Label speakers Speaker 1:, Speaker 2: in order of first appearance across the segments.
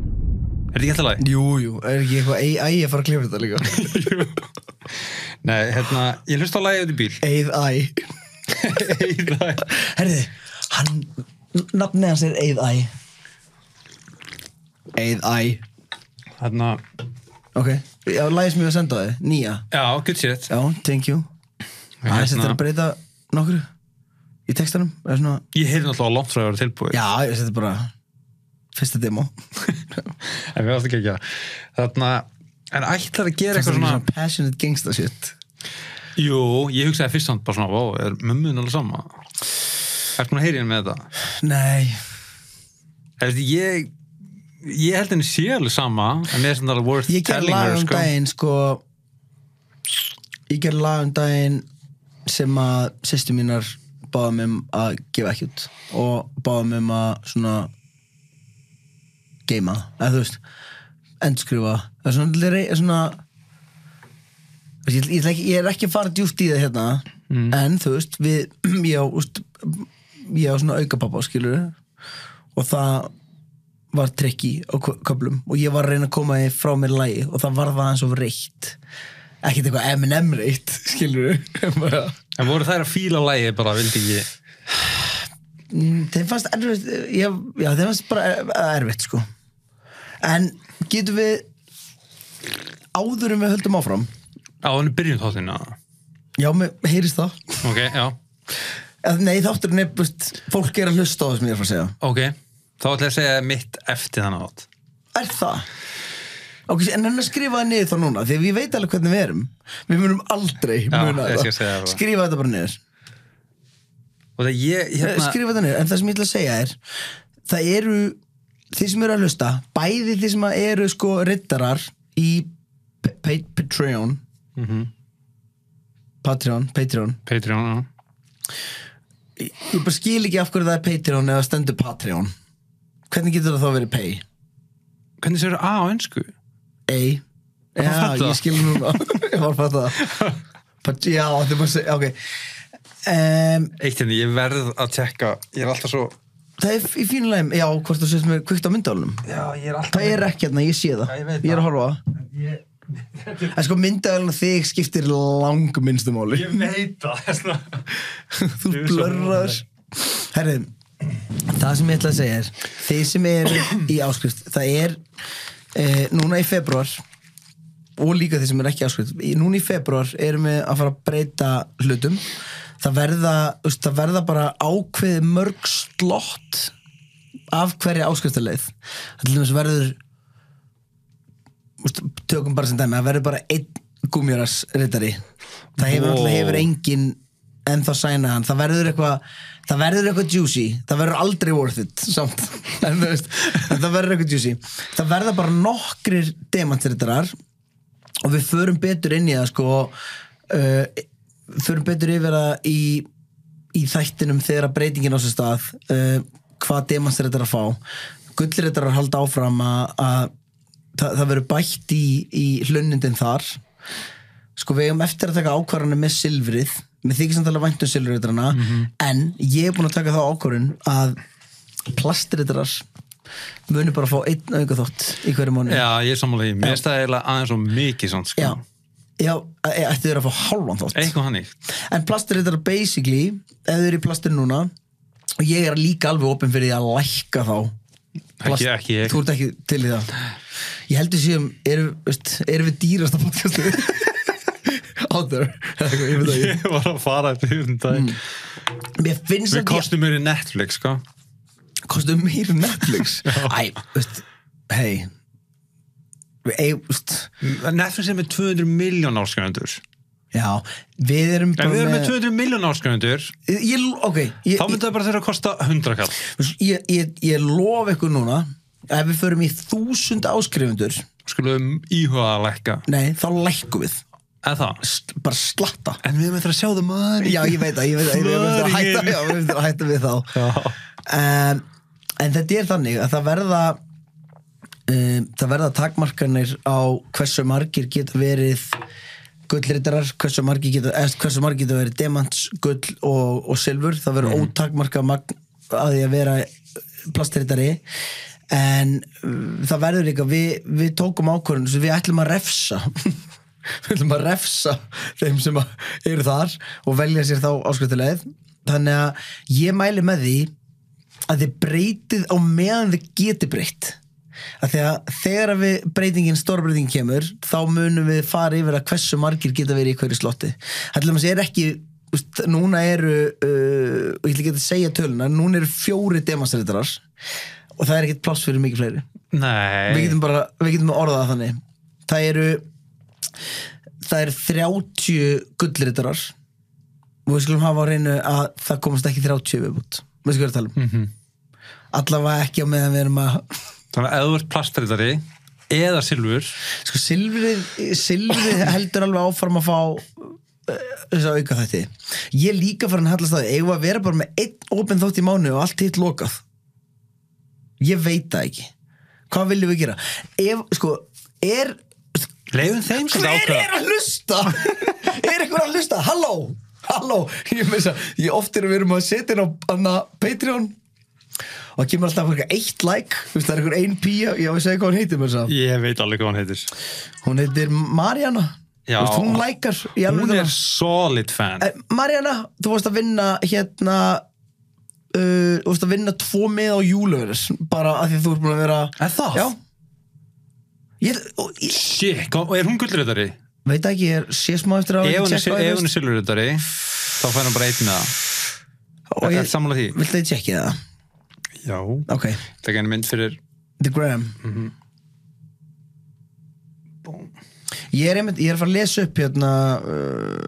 Speaker 1: þetta ekki alltaf lagi?
Speaker 2: Jú, jú, er ekki eitthvað AI að fara að klifa þetta líka?
Speaker 1: Nei, hérna, ég hlusta á lagið út í bíl
Speaker 2: Eið AI
Speaker 1: Eyða.
Speaker 2: Herði, hann, nafnið hans er Eið AI Eið AI
Speaker 1: Hérna,
Speaker 2: Ok, já, lagið sem ég var að senda á þið, nýja
Speaker 1: já, good shit
Speaker 2: Já, thank you Aðeins þetta er að breyta nokkru í textanum, eða svona
Speaker 1: Ég heyrði náttúrulega langt frá að vera tilbúið
Speaker 2: Já, ég seti bara fyrsta demo
Speaker 1: En við varst ekki ekki að Þarna, en ætlar að gera eitthvað
Speaker 2: Fannst þetta
Speaker 1: svona
Speaker 2: ekki passionate gangsta shit
Speaker 1: Jú, ég hugsaði fyrst samt bara svona Vá, er mömmun alveg sama? Ertu maður að heyri henni með þetta?
Speaker 2: Nei,
Speaker 1: Eftir, ég, ég held henni sé alveg sama en mér er þetta alveg worth
Speaker 2: ég ger
Speaker 1: telling
Speaker 2: lag
Speaker 1: her
Speaker 2: um
Speaker 1: sko.
Speaker 2: daginn sko ég ger lag um daginn sem að sýstu mínar báðum um að gefa ekki út og báðum um að svona geima eða þú veist, endskrifa það er svona, það er svona Þú veist, ég, ég, ætla ekki- ég er ekki að fara djúpt í það hérna
Speaker 1: Mm.
Speaker 2: en þú veist við, ég, á, úst, ég á svona aukapappa skilur og það var trikki á kö- köflum og ég var að reyna að koma því frá mér lægi og það var það eins og reitt ekkert eitthvað M&M reitt skilur
Speaker 1: en voru þær að fíla lægi bara vildi ekki
Speaker 2: Mm, þeim fannst erfitt ég, já, þeim fannst bara er- erfitt sko en getum við áður en við höldum áfram
Speaker 1: á henni byrjum þáttin
Speaker 2: já, mér heyrist það
Speaker 1: ok, já,
Speaker 2: Eða, Nei, þátturinn er, búst, fólk er að hlusta á það sem ég er að fara að segja.
Speaker 1: ok þá ætla ég að segja mitt eftir þannig átt
Speaker 2: Er það? Ok, en hann er skrifaði niður þá núna, því að ég veit alveg hvernig við erum. Við munum aldrei muna
Speaker 1: ég skal
Speaker 2: þetta.
Speaker 1: segja það.
Speaker 2: Skrifa þetta bara niður.
Speaker 1: og það ég,
Speaker 2: hérna...
Speaker 1: hérna
Speaker 2: skrifa þetta niður, en það sem ég ætla að segja er það eru þið sem eru að hlusta, bæði þið sem eru sko rittarar í P- P- Patreon
Speaker 1: Mhm.
Speaker 2: Patreon, Patreon
Speaker 1: Patreon, já,
Speaker 2: ég, ég bara skil ekki af hverju það er Patreon eða stendur Patreon hvernig getur það þá verið pay?
Speaker 1: hvernig séu A á ennsku
Speaker 2: A Já,
Speaker 1: fatta það.
Speaker 2: ég skil núna ég var að fatta það Pat- Já, þið bara að segja, ok um,
Speaker 1: eitt henni, ég verð að tjekka ég er alltaf svo
Speaker 2: Það er í fínulegum, já, hvort þú sést mér kvikt á myndálunum
Speaker 1: já, ég er
Speaker 2: Það er ekki hérna, ég sé það
Speaker 1: Já, ég veit
Speaker 2: er að
Speaker 1: það.
Speaker 2: horfa á það En sko myndavælun og þig skiptir lang minnstu máli
Speaker 1: veit það
Speaker 2: Þú
Speaker 1: Ég er svo
Speaker 2: blörrar Herri, það sem ég ætla að segja er Þið sem eru í áskrift Það er eh, núna í februar Og líka þið sem eru ekki í áskrift í, Núna í februar erum við að fara að breyta hlutum Það verða, þú veist, það verða bara ákveðið mörg slott af hverja áskriftaleið Það til dæmis verður úst, tökum bara sem dæmi, það verður bara einn gúmjörars rittari það hefur
Speaker 1: Wow.
Speaker 2: alltaf hefur engin en þá sæna hann, það verður eitthvað það verður eitthvað juicy, það verður aldrei worth it samt, en þú veist en það verður eitthvað juicy, það verða bara nokkrir demantrittarar og við förum betur inn í það sko uh, förum betur yfir það í, í þættinum þegar að breytingin á sér stað uh, hvað demans er þetta að fá gullir þetta að halda áfram að, að það, það verður bætt í, í hlönnindin þar sko við eigum eftir að taka ákvarðanir með silfrið með þykir samtala væntum silfriðrana mm en ég er búin að taka þá ákvarðun að plastriðrar munu bara fá einn auka þótt í hverju mánu
Speaker 1: já, ég er sammála því, mér finnst það eiginlega aðeins svo mikið samt, sko,
Speaker 2: Já, já e- ættu þér að fá hálfan þátt
Speaker 1: eitthvað hann eitt
Speaker 2: En plastur þetta er basically ef þau eru í plastur núna og ég er líka alveg opinn fyrir því að lækka þá
Speaker 1: Ekki- ekki ég.
Speaker 2: Þú ert ekki til í það Ég heldur séum, erum, veist, erum við dýrasta podcastu out there Eða eitthvað, ég veit það ekki.
Speaker 1: ég var að fara eftir því um dag
Speaker 2: Mér finnst
Speaker 1: við
Speaker 2: að
Speaker 1: kostum mér í Netflix, sko
Speaker 2: ég kostum meir Netflix Æ, veist, hei Við eigum, veist
Speaker 1: Netflix er með 200 miljón ásköndur
Speaker 2: Já, við erum
Speaker 1: Ef
Speaker 2: bara
Speaker 1: við erum með 200 miljón ásköndur
Speaker 2: ég, Ok, ég,
Speaker 1: þá myndi það bara þurfa að kosta 100 kall
Speaker 2: ég, ég, ég lof ykkur núna ef við förum í þúsund áskrifundur
Speaker 1: Skulum íhuga að lækka
Speaker 2: nei, þá lækkum við
Speaker 1: Eða það
Speaker 2: Sl bara slatta
Speaker 1: En við erum eftir að sjá það maður
Speaker 2: já, ég veit það, ég veit það, ég veit það, ég veit það, ég veit það hætta við þá um, en þetta er þannig að það verða um, það verða takmarkanir á hversu margir geta verið gullritarar, hversu margir geta, eða, hversu margir geta verið demants, gull og, og silfur það verður ótakmarkað magn að því að vera plastritari en uh, það verður líka við, við tókum ákvörðun sem við ætlum að refsa við ætlum að refsa þeim sem að eru þar og velja sér þá áskriftilegð þannig að ég mæli með því að þið breytið á meðan þið geti breytt að þegar, þegar að við breytingin stórbreytingin kemur þá munum við fara yfir að hversu margir geta verið í hverju slotti ætlum að segja er ekki úst, núna eru uh, og ég ætla ekki að segja töluna núna eru fjóri demonstratrar og það er ekkert pláss fyrir mikið fleiri
Speaker 1: Nei.
Speaker 2: við getum bara, við getum orðað það þannig það eru það eru 30 gullritarar og við skulum hafa á reynu að það komast ekki 30 viðbútt við skulum tala um mm
Speaker 1: Mhm.
Speaker 2: -hmm. allavega ekki á meðan við erum að
Speaker 1: Þannig að ef þú ert plastritari eða silfur
Speaker 2: sko silfrið, silfrið heldur alveg áfram að fá eh, þess að auka þetta ég er líka farin að hallast það eigum við að vera bara með einn opinn þátt í mánu og allt hitt lokað ég veit það ekki hvað viljum við gera ef, sko, er sko,
Speaker 1: leiðum þeim sem
Speaker 2: hver
Speaker 1: ákveða
Speaker 2: er að hlusta er einhver að hlusta, halló halló, ég meins að ég oft erum við erum að setja inn á anna, Patreon og kemur alltaf eitthvað eitt like, þú veist það er einhver ein pía ég á að segja hvað hún heitir mér þess að
Speaker 1: Ég veit alveg hvað hann heitir
Speaker 2: hún heitir Marjana,
Speaker 1: Já.
Speaker 2: Vist, hún lækar
Speaker 1: Hún er solid fan
Speaker 2: Marjana, Eh, þú varst að vinna hérna uh, þú varst að vinna tvo með á júlöfurs bara af því að þú ert búin að vera
Speaker 1: Er það?
Speaker 2: já ég, og, ég
Speaker 1: Shit, og er hún gullritari?
Speaker 2: veit það ekki, ég sé smá eftir að
Speaker 1: Ef hún er, sil-
Speaker 2: tjekka á því,
Speaker 1: ef
Speaker 2: þú
Speaker 1: hún
Speaker 2: veist.
Speaker 1: er silfurritari þá fær hann bara einn með það
Speaker 2: Og
Speaker 1: Er
Speaker 2: ég-
Speaker 1: það sammála því?
Speaker 2: Viltu að ég tjekki það?
Speaker 1: Já
Speaker 2: Ok,
Speaker 1: Það er mynd fyrir
Speaker 2: The Gram
Speaker 1: Mhm. Búm.
Speaker 2: ég, er einmitt, ég er að fara að lesa upp hérna uh,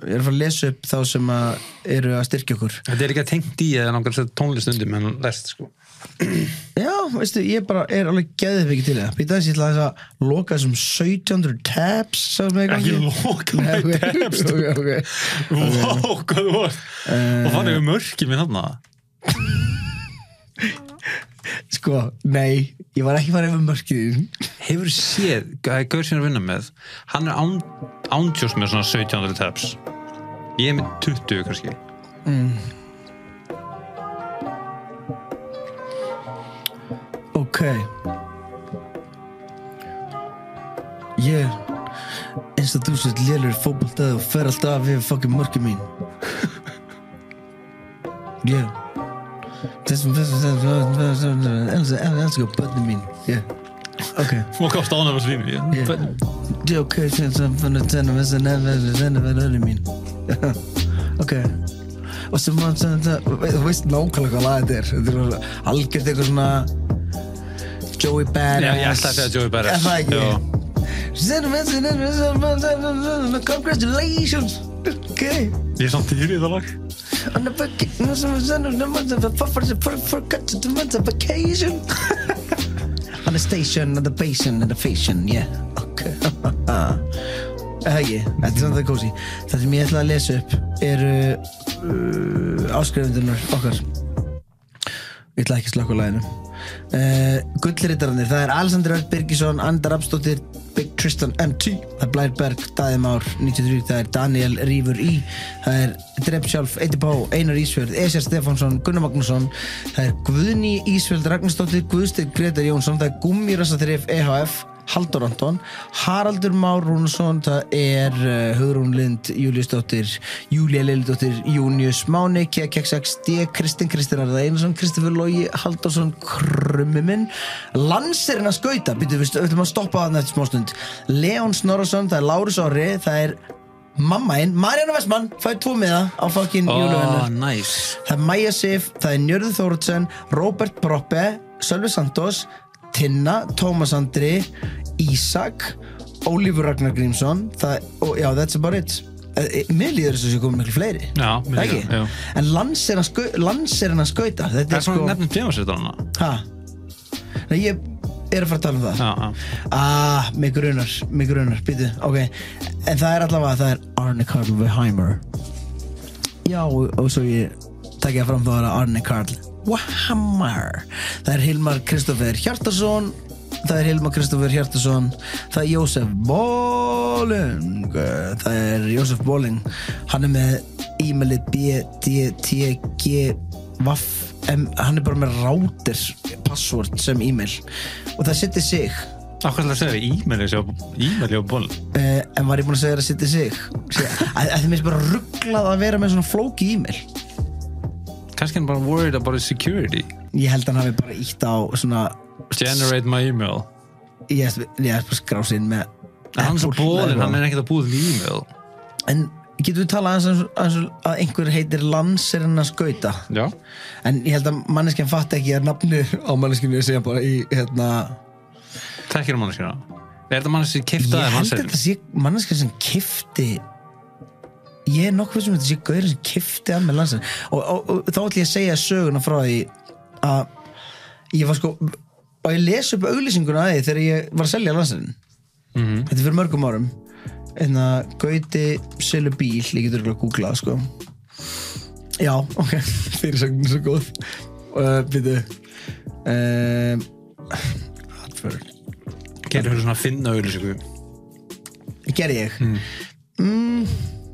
Speaker 2: Ég er að fara að lesa upp þá sem að eru að styrkja okkur
Speaker 1: Þetta er ekki að tengt í eða náttúrulega setja tónlist undir menn lest sko
Speaker 2: Já, veistu, ég bara er alveg geðið ekki til það Býta þess, ég ætla aðeins að loka þessum 1700 tabs sem er í gangi.
Speaker 1: Ekki loka
Speaker 2: Nei,
Speaker 1: með
Speaker 2: ok,
Speaker 1: tabs
Speaker 2: ok, ok.
Speaker 1: Vá, hvað þú varst
Speaker 2: Eh.
Speaker 1: Og fann ég mörkið minn hann
Speaker 2: Sko, nei, ég var ekki farið yfir mörkið þín.
Speaker 1: Hefur séð, það er gaur sem ég er að vinna með Hann er án, ándjós með svona 1700 tabs Ég er með 20 kannski
Speaker 2: Ok Ég er eins og þú sett lélur fótboltaði og fer alltaf við fucking mörgum mín Ég þessum þessum þessum þessum þessum elsku bönni mín Ég Ok
Speaker 1: Og gátt ánægum að slínu
Speaker 2: Ég
Speaker 1: yeah.
Speaker 2: Ég ok þessum þessum þessum þessum þessum þessum þessum mín Ok Og sem mann sem þetta Þú veist nákvæmlega hvað lag þetta er Þetta er algjört eitthvað svona Joey Badass
Speaker 1: Já, ég ætla að segja Joey Badass.
Speaker 2: Er það
Speaker 1: Já.
Speaker 2: ekki? Congratulations Ok
Speaker 1: Ég er samt dýr í það lag
Speaker 2: On the vacation vacation On the station, on the basin, on the fashion Yeah, ok Það ekki, þetta er samt að kósi Það sem ég ætla að lesa upp eru uh, áskrifundunar okkar Ég ætla ekki að slökka á læginu uh, Gullritararnir, það er Alexander Örd Birgisson, Andar Abstóttir Big Tristan MT, það er Blær Berg Daði Már, 93, það er Daniel Rífur Í, það er Drepp Sjálf Eiti Pá, Einar Ísfjörð, Esjar Stefánsson Gunnar Magnússon, það er Guðni Ísfjörð Ragnarstóttir, Guðsteinn Gretar Jónsson það er E Gummirassatrif EHF Haldur Anton, Haraldur Már Rúnarsson, það er uh, Hugrún Lind, Júliusdóttir, Júlia Lillidóttir, Június Máni, KKXX, D, Kristinn Kristinn Arða Einarsson, Kristoffer Lógi, Haldursson, Krummi minn, Lanserinn að skauta, býtum við ætlum að stoppa það nætti smástund, Leon Snorrason, það er Lárus Ári, það er mamma einn, Marjana Vestmann, fæði tvo miða á fokkin oh, júluvennar.
Speaker 1: nice
Speaker 2: Það er Maja Sif, það er Njörður Þóruðsson, Robert Proppe, Sölvi Santos, Tinna, Tómas Andri, Ísak, Ólífur Ragnar Grímsson, það, og, já, that's about it. Eh, eh, Mér líður þess að sé komið miklu fleiri.
Speaker 1: Já, mér
Speaker 2: Það
Speaker 1: líka,
Speaker 2: ekki?
Speaker 1: já.
Speaker 2: En lands er að skau- lands er hann að skauta. Þetta
Speaker 1: Það
Speaker 2: er
Speaker 1: er svona
Speaker 2: sko...
Speaker 1: nefnum djöfarsett á hana
Speaker 2: Ha? Nei, ég er að fara að tala um það.
Speaker 1: Já, já
Speaker 2: Ah, mig grunar, mig grunar, býtu, ok En það er allavega, það er Arne Karl Weimer Já, og, og svo ég tekja fram þá er það Arne Karl Weimer Það er Hilmar Kristoffer Hjartarsson Það er Hilmar Kristoffer Hjartarsson Það er Jósef Bóling Það er Jósef Bóling Hann er með e-mailið bdtg vaff, em, hann er bara með rátir password sem e-mail og það setja sig
Speaker 1: Akkur ætla að segja e-maili sjá, e-maili á ból
Speaker 2: uh, en var ég búin að segja þér að setja sig Sé- að að þið minnst bara rugglað að vera með svona flóki e-mail
Speaker 1: Kannski hann bara worried about his security
Speaker 2: ég held að hann hafi bara ítt á svona
Speaker 1: Generate my email
Speaker 2: ég held ég held bara skrási inn með
Speaker 1: En hann svo
Speaker 2: Apple
Speaker 1: bólinn,
Speaker 2: eða-
Speaker 1: hann er ekkert að búið með e-mail
Speaker 2: en getum við talað aðeins um- aðeins um að einhver heitir Lanserinn að skauta
Speaker 1: Já
Speaker 2: en ég held að manneskjan fatt ekki að nafnu á manneskinu segja bara í hérna
Speaker 1: Þekkir hann manneskjana Er þetta manneskjana kifta eða
Speaker 2: ég held að
Speaker 1: manneskjana?
Speaker 2: þetta sé manneskja sem kifti ég er nokkuð sem þetta sé gauður sem kifti að með landsin og, og, og þá ætlum ég að segja söguna frá því að ég var sko og ég les upp auglýsinguna að því þegar ég var að selja landsin þetta er fyrir mörgum árum en að gauti selur bíl ég getur örugglega að googla það sko já, ok, fyrirsögnin er svo góð uh, býtu um, Hartford
Speaker 1: Gerir fyrir svona að finna auðlýsingu
Speaker 2: gerði ég mm.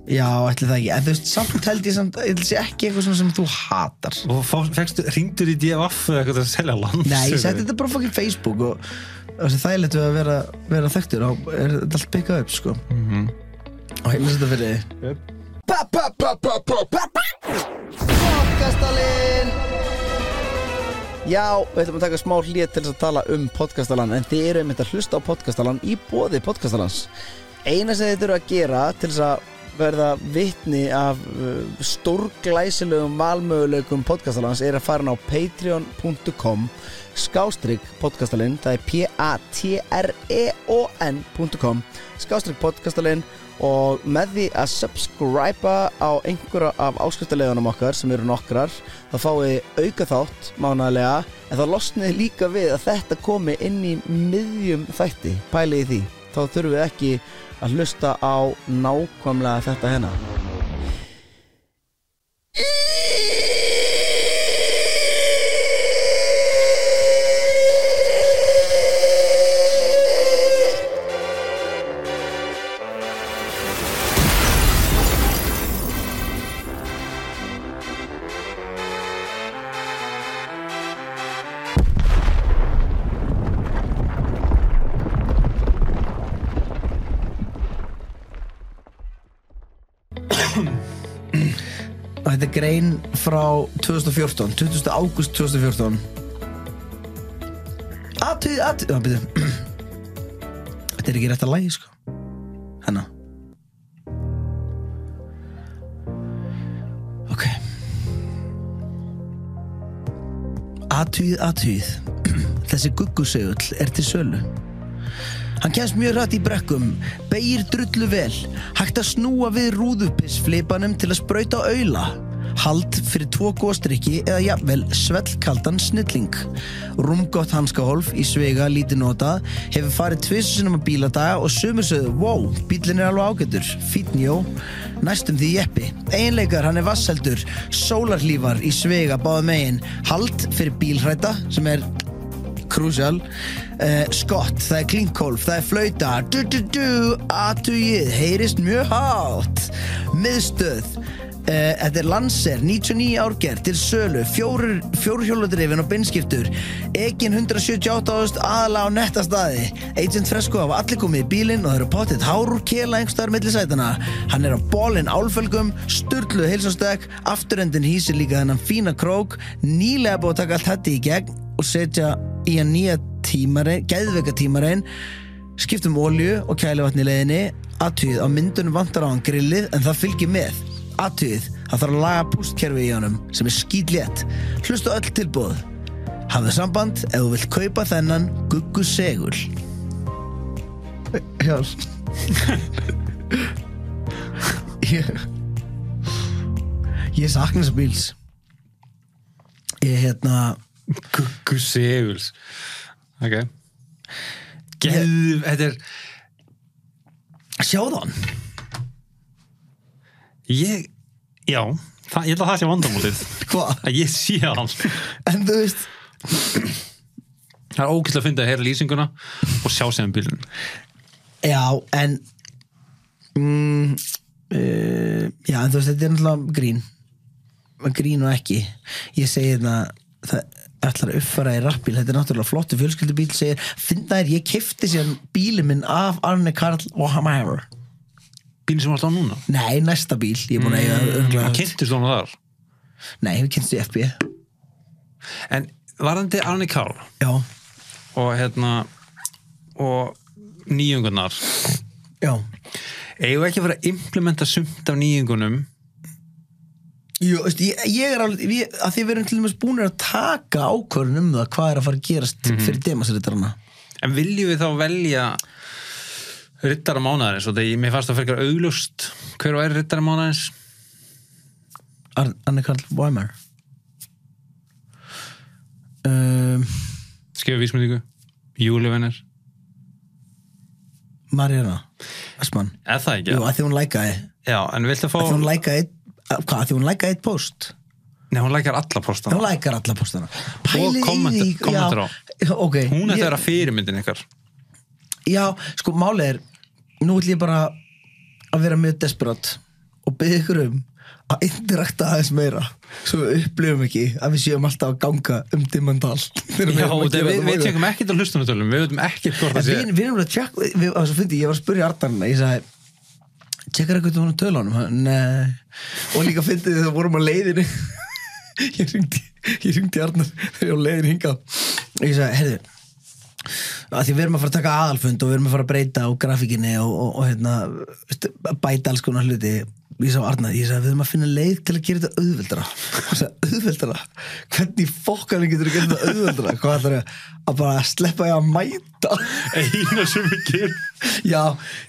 Speaker 2: já, ætli það ekki en þú veist, samt held ég samt ég sé ekki eitthvað svona sem þú hatar
Speaker 1: Og fá- fékkstu- hringdur í DFF eða eitthvað til að selja land
Speaker 2: nei, ég setti þetta bara fokkin Facebook og og þessi þægilegt við að vera, vera þekktur á, er þetta allt byggað upp sko mm -hmm. og heimlis þetta fyrir þig
Speaker 1: Jöp.
Speaker 2: pa pa pa pa pa pa pa Podcastalinn Já, við ætlum að taka smá hlýja til þess að tala um podcastalann en þið eru einmitt að hlusta á podcastalann í bóði podcastalans Eina sem þið eru að gera til þess að verða vitni af uh, stórglæsilegum valmöguleikum podcastalans er að fara inn á patreon.com skástrygg podcastalinn það er E p-a-t-r-e-o-n.com skástrygg podcastalinn og með því að subscriba á einhverja af áskriftalegunum okkar sem eru nokkrar þá fáið þið auka þátt mánaglega en þá losnið þið líka við að þetta komi inn í miðjum þætti pælið í því þá þurfum við ekki að hlusta á nákvæmlega þetta hérna og þetta er grein frá 2014 20. águst 2014 aðtöð, aðtöð að, byrju. þetta er ekki rétt að lægi sko hennar ok aðtöð, aðtöð þessi guggusegull er til sölu Hann kemst mjög hratt í brekkum, beigir drullu vel, hægt að snúa við rúðupissflipanum til að sprauta auðla, hald fyrir tvo góstrykki eða jafnvel svellkaldan snilling. Rúmgott hanskahólf í svega lítið nota, hefur farið tvisusinn á bíladaga og sumur sögðu, wow, bílinn er alveg ágætur, fítn jó, næstum því jeppi. Einleikar, hann er vasseldur, sólarhlífar í svega báða megin, hald fyrir bílhræta sem er Crucial uh, Skott, það er klinkólf, það er flauta Du du du, atugið Heyrist mjög hátt Miðstöð uh, Þetta er Lancer, 99 árgerð Til sölu, fjórhjóladrifin og beinskiptur Egin 178 aðla á netta staði Agent Fresco hafa allir komið í bílinn Og það eru pottitt hár úr kela einhverstaðar milli sætana Hann er á bólinn álfölgum Sturlu heilsastökk Afturendin hýsir líka þennan fína krók Nýlega búið að taka allt þetta í gegn og setja í að nýja tímarein, gæðveika tímarein skiptum olju og kælivatn í leiðinni aðtýð á myndunum vantar á hann grillið en það fylgir með aðtýð, það þarf að laga pústkerfi í honum sem er skýtlétt, hlustu öll tilbúð hafðu samband ef þú vilt kaupa þennan guggu segul Já Ég Ég sakna þess bíls Ég hérna
Speaker 1: Guggu Seguls Ok Geðu, þetta er
Speaker 2: Sjáðan
Speaker 1: Ég, já það, Ég held að það sé vandamúlið
Speaker 2: Hvað?
Speaker 1: Að ég sé hann
Speaker 2: En þú veist
Speaker 1: Það er ógæslega að finna að heyra lýsinguna og sjá sem bílinn
Speaker 2: Já, en mm, uh, Já, en þú veist, þetta er náttúrulega grín Grín og ekki Ég segi þetta hérna, það, ætlar að uppfara í rappbíl þetta er náttúrulega flottu fjölskyldubíl segir, finna þér, ég kefti sér bílin minn af Arne Karl og Hammer
Speaker 1: Bílinn sem varst á núna
Speaker 2: nei, næsta bíl, ég er búin að eiga
Speaker 1: Það
Speaker 2: örgulega,
Speaker 1: kynntist hún þar
Speaker 2: nei, við kynstu í FB
Speaker 1: En varðandi Arni Kál
Speaker 2: já,
Speaker 1: og hérna og nýjungunar
Speaker 2: já,
Speaker 1: eigum við ekki að vera að implementa sumt af nýjungunum
Speaker 2: Jú, veist, ég, ég er alveg við, að því við erum til dæmis búinir að taka ákvörðun um það hvað er að fara að gerast
Speaker 1: Mhm.
Speaker 2: fyrir demasritarana
Speaker 1: en viljum við þá velja rittara mánæðarins og þegar mér fannst það fyrir auglust hver og er rittara mánæðarins
Speaker 2: Ar- Arne Karl Weimer um,
Speaker 1: skifja vísmyndingu, júlivenir
Speaker 2: Mariana Asman
Speaker 1: eða það ekki,
Speaker 2: Jú, að því hún lækaði
Speaker 1: já, en viltu að fá
Speaker 2: að því hún lækaði einn- að- hvað, að því hún lækaði eitt post
Speaker 1: nei, hún lækjar alla postana
Speaker 2: hún lækar alla postana í
Speaker 1: kommentar-
Speaker 2: því-
Speaker 1: kommentar á.
Speaker 2: já, ok,
Speaker 1: hún er
Speaker 2: Ég-
Speaker 1: þeirra fyrirmyndin ykkar
Speaker 2: já, sko málið er nú ætlum ég bara að vera mjög desperat og byggja ykkur um að interakta aðeins meira svo við upplifum ekki að við séum alltaf að ganga um dimmandal
Speaker 1: já, við, við, við tjekum ekkert á hlustunatölum við veitum ekkert hvort það sé
Speaker 2: En við, við erum að tjekka, við, það var svo fyndi, ég var að spyrja Artan, ég sagði, tjekkar eitthvað um hann á tölunum? Hann, Nei. Og líka fyndi þegar það vorum á leiðinu, ég ringdi, ég ringdi Artan þegar ég var á leiðinu hingað. Og ég sagði, heyrðu, að því við erum að fara að taka aðalfund og við erum að fara að breyta á grafíkinni og, og, og hérna, veistu, bæta alls konar hluti ég sá Arnar, ég sagði við erum að finna leið til að gera þetta auðveldra og sagði auðveldra, hvernig fokkanum getur að gera þetta auðveldra hvað ætlar að bara sleppa ég að mæta
Speaker 1: eina sem við gerum
Speaker 2: já,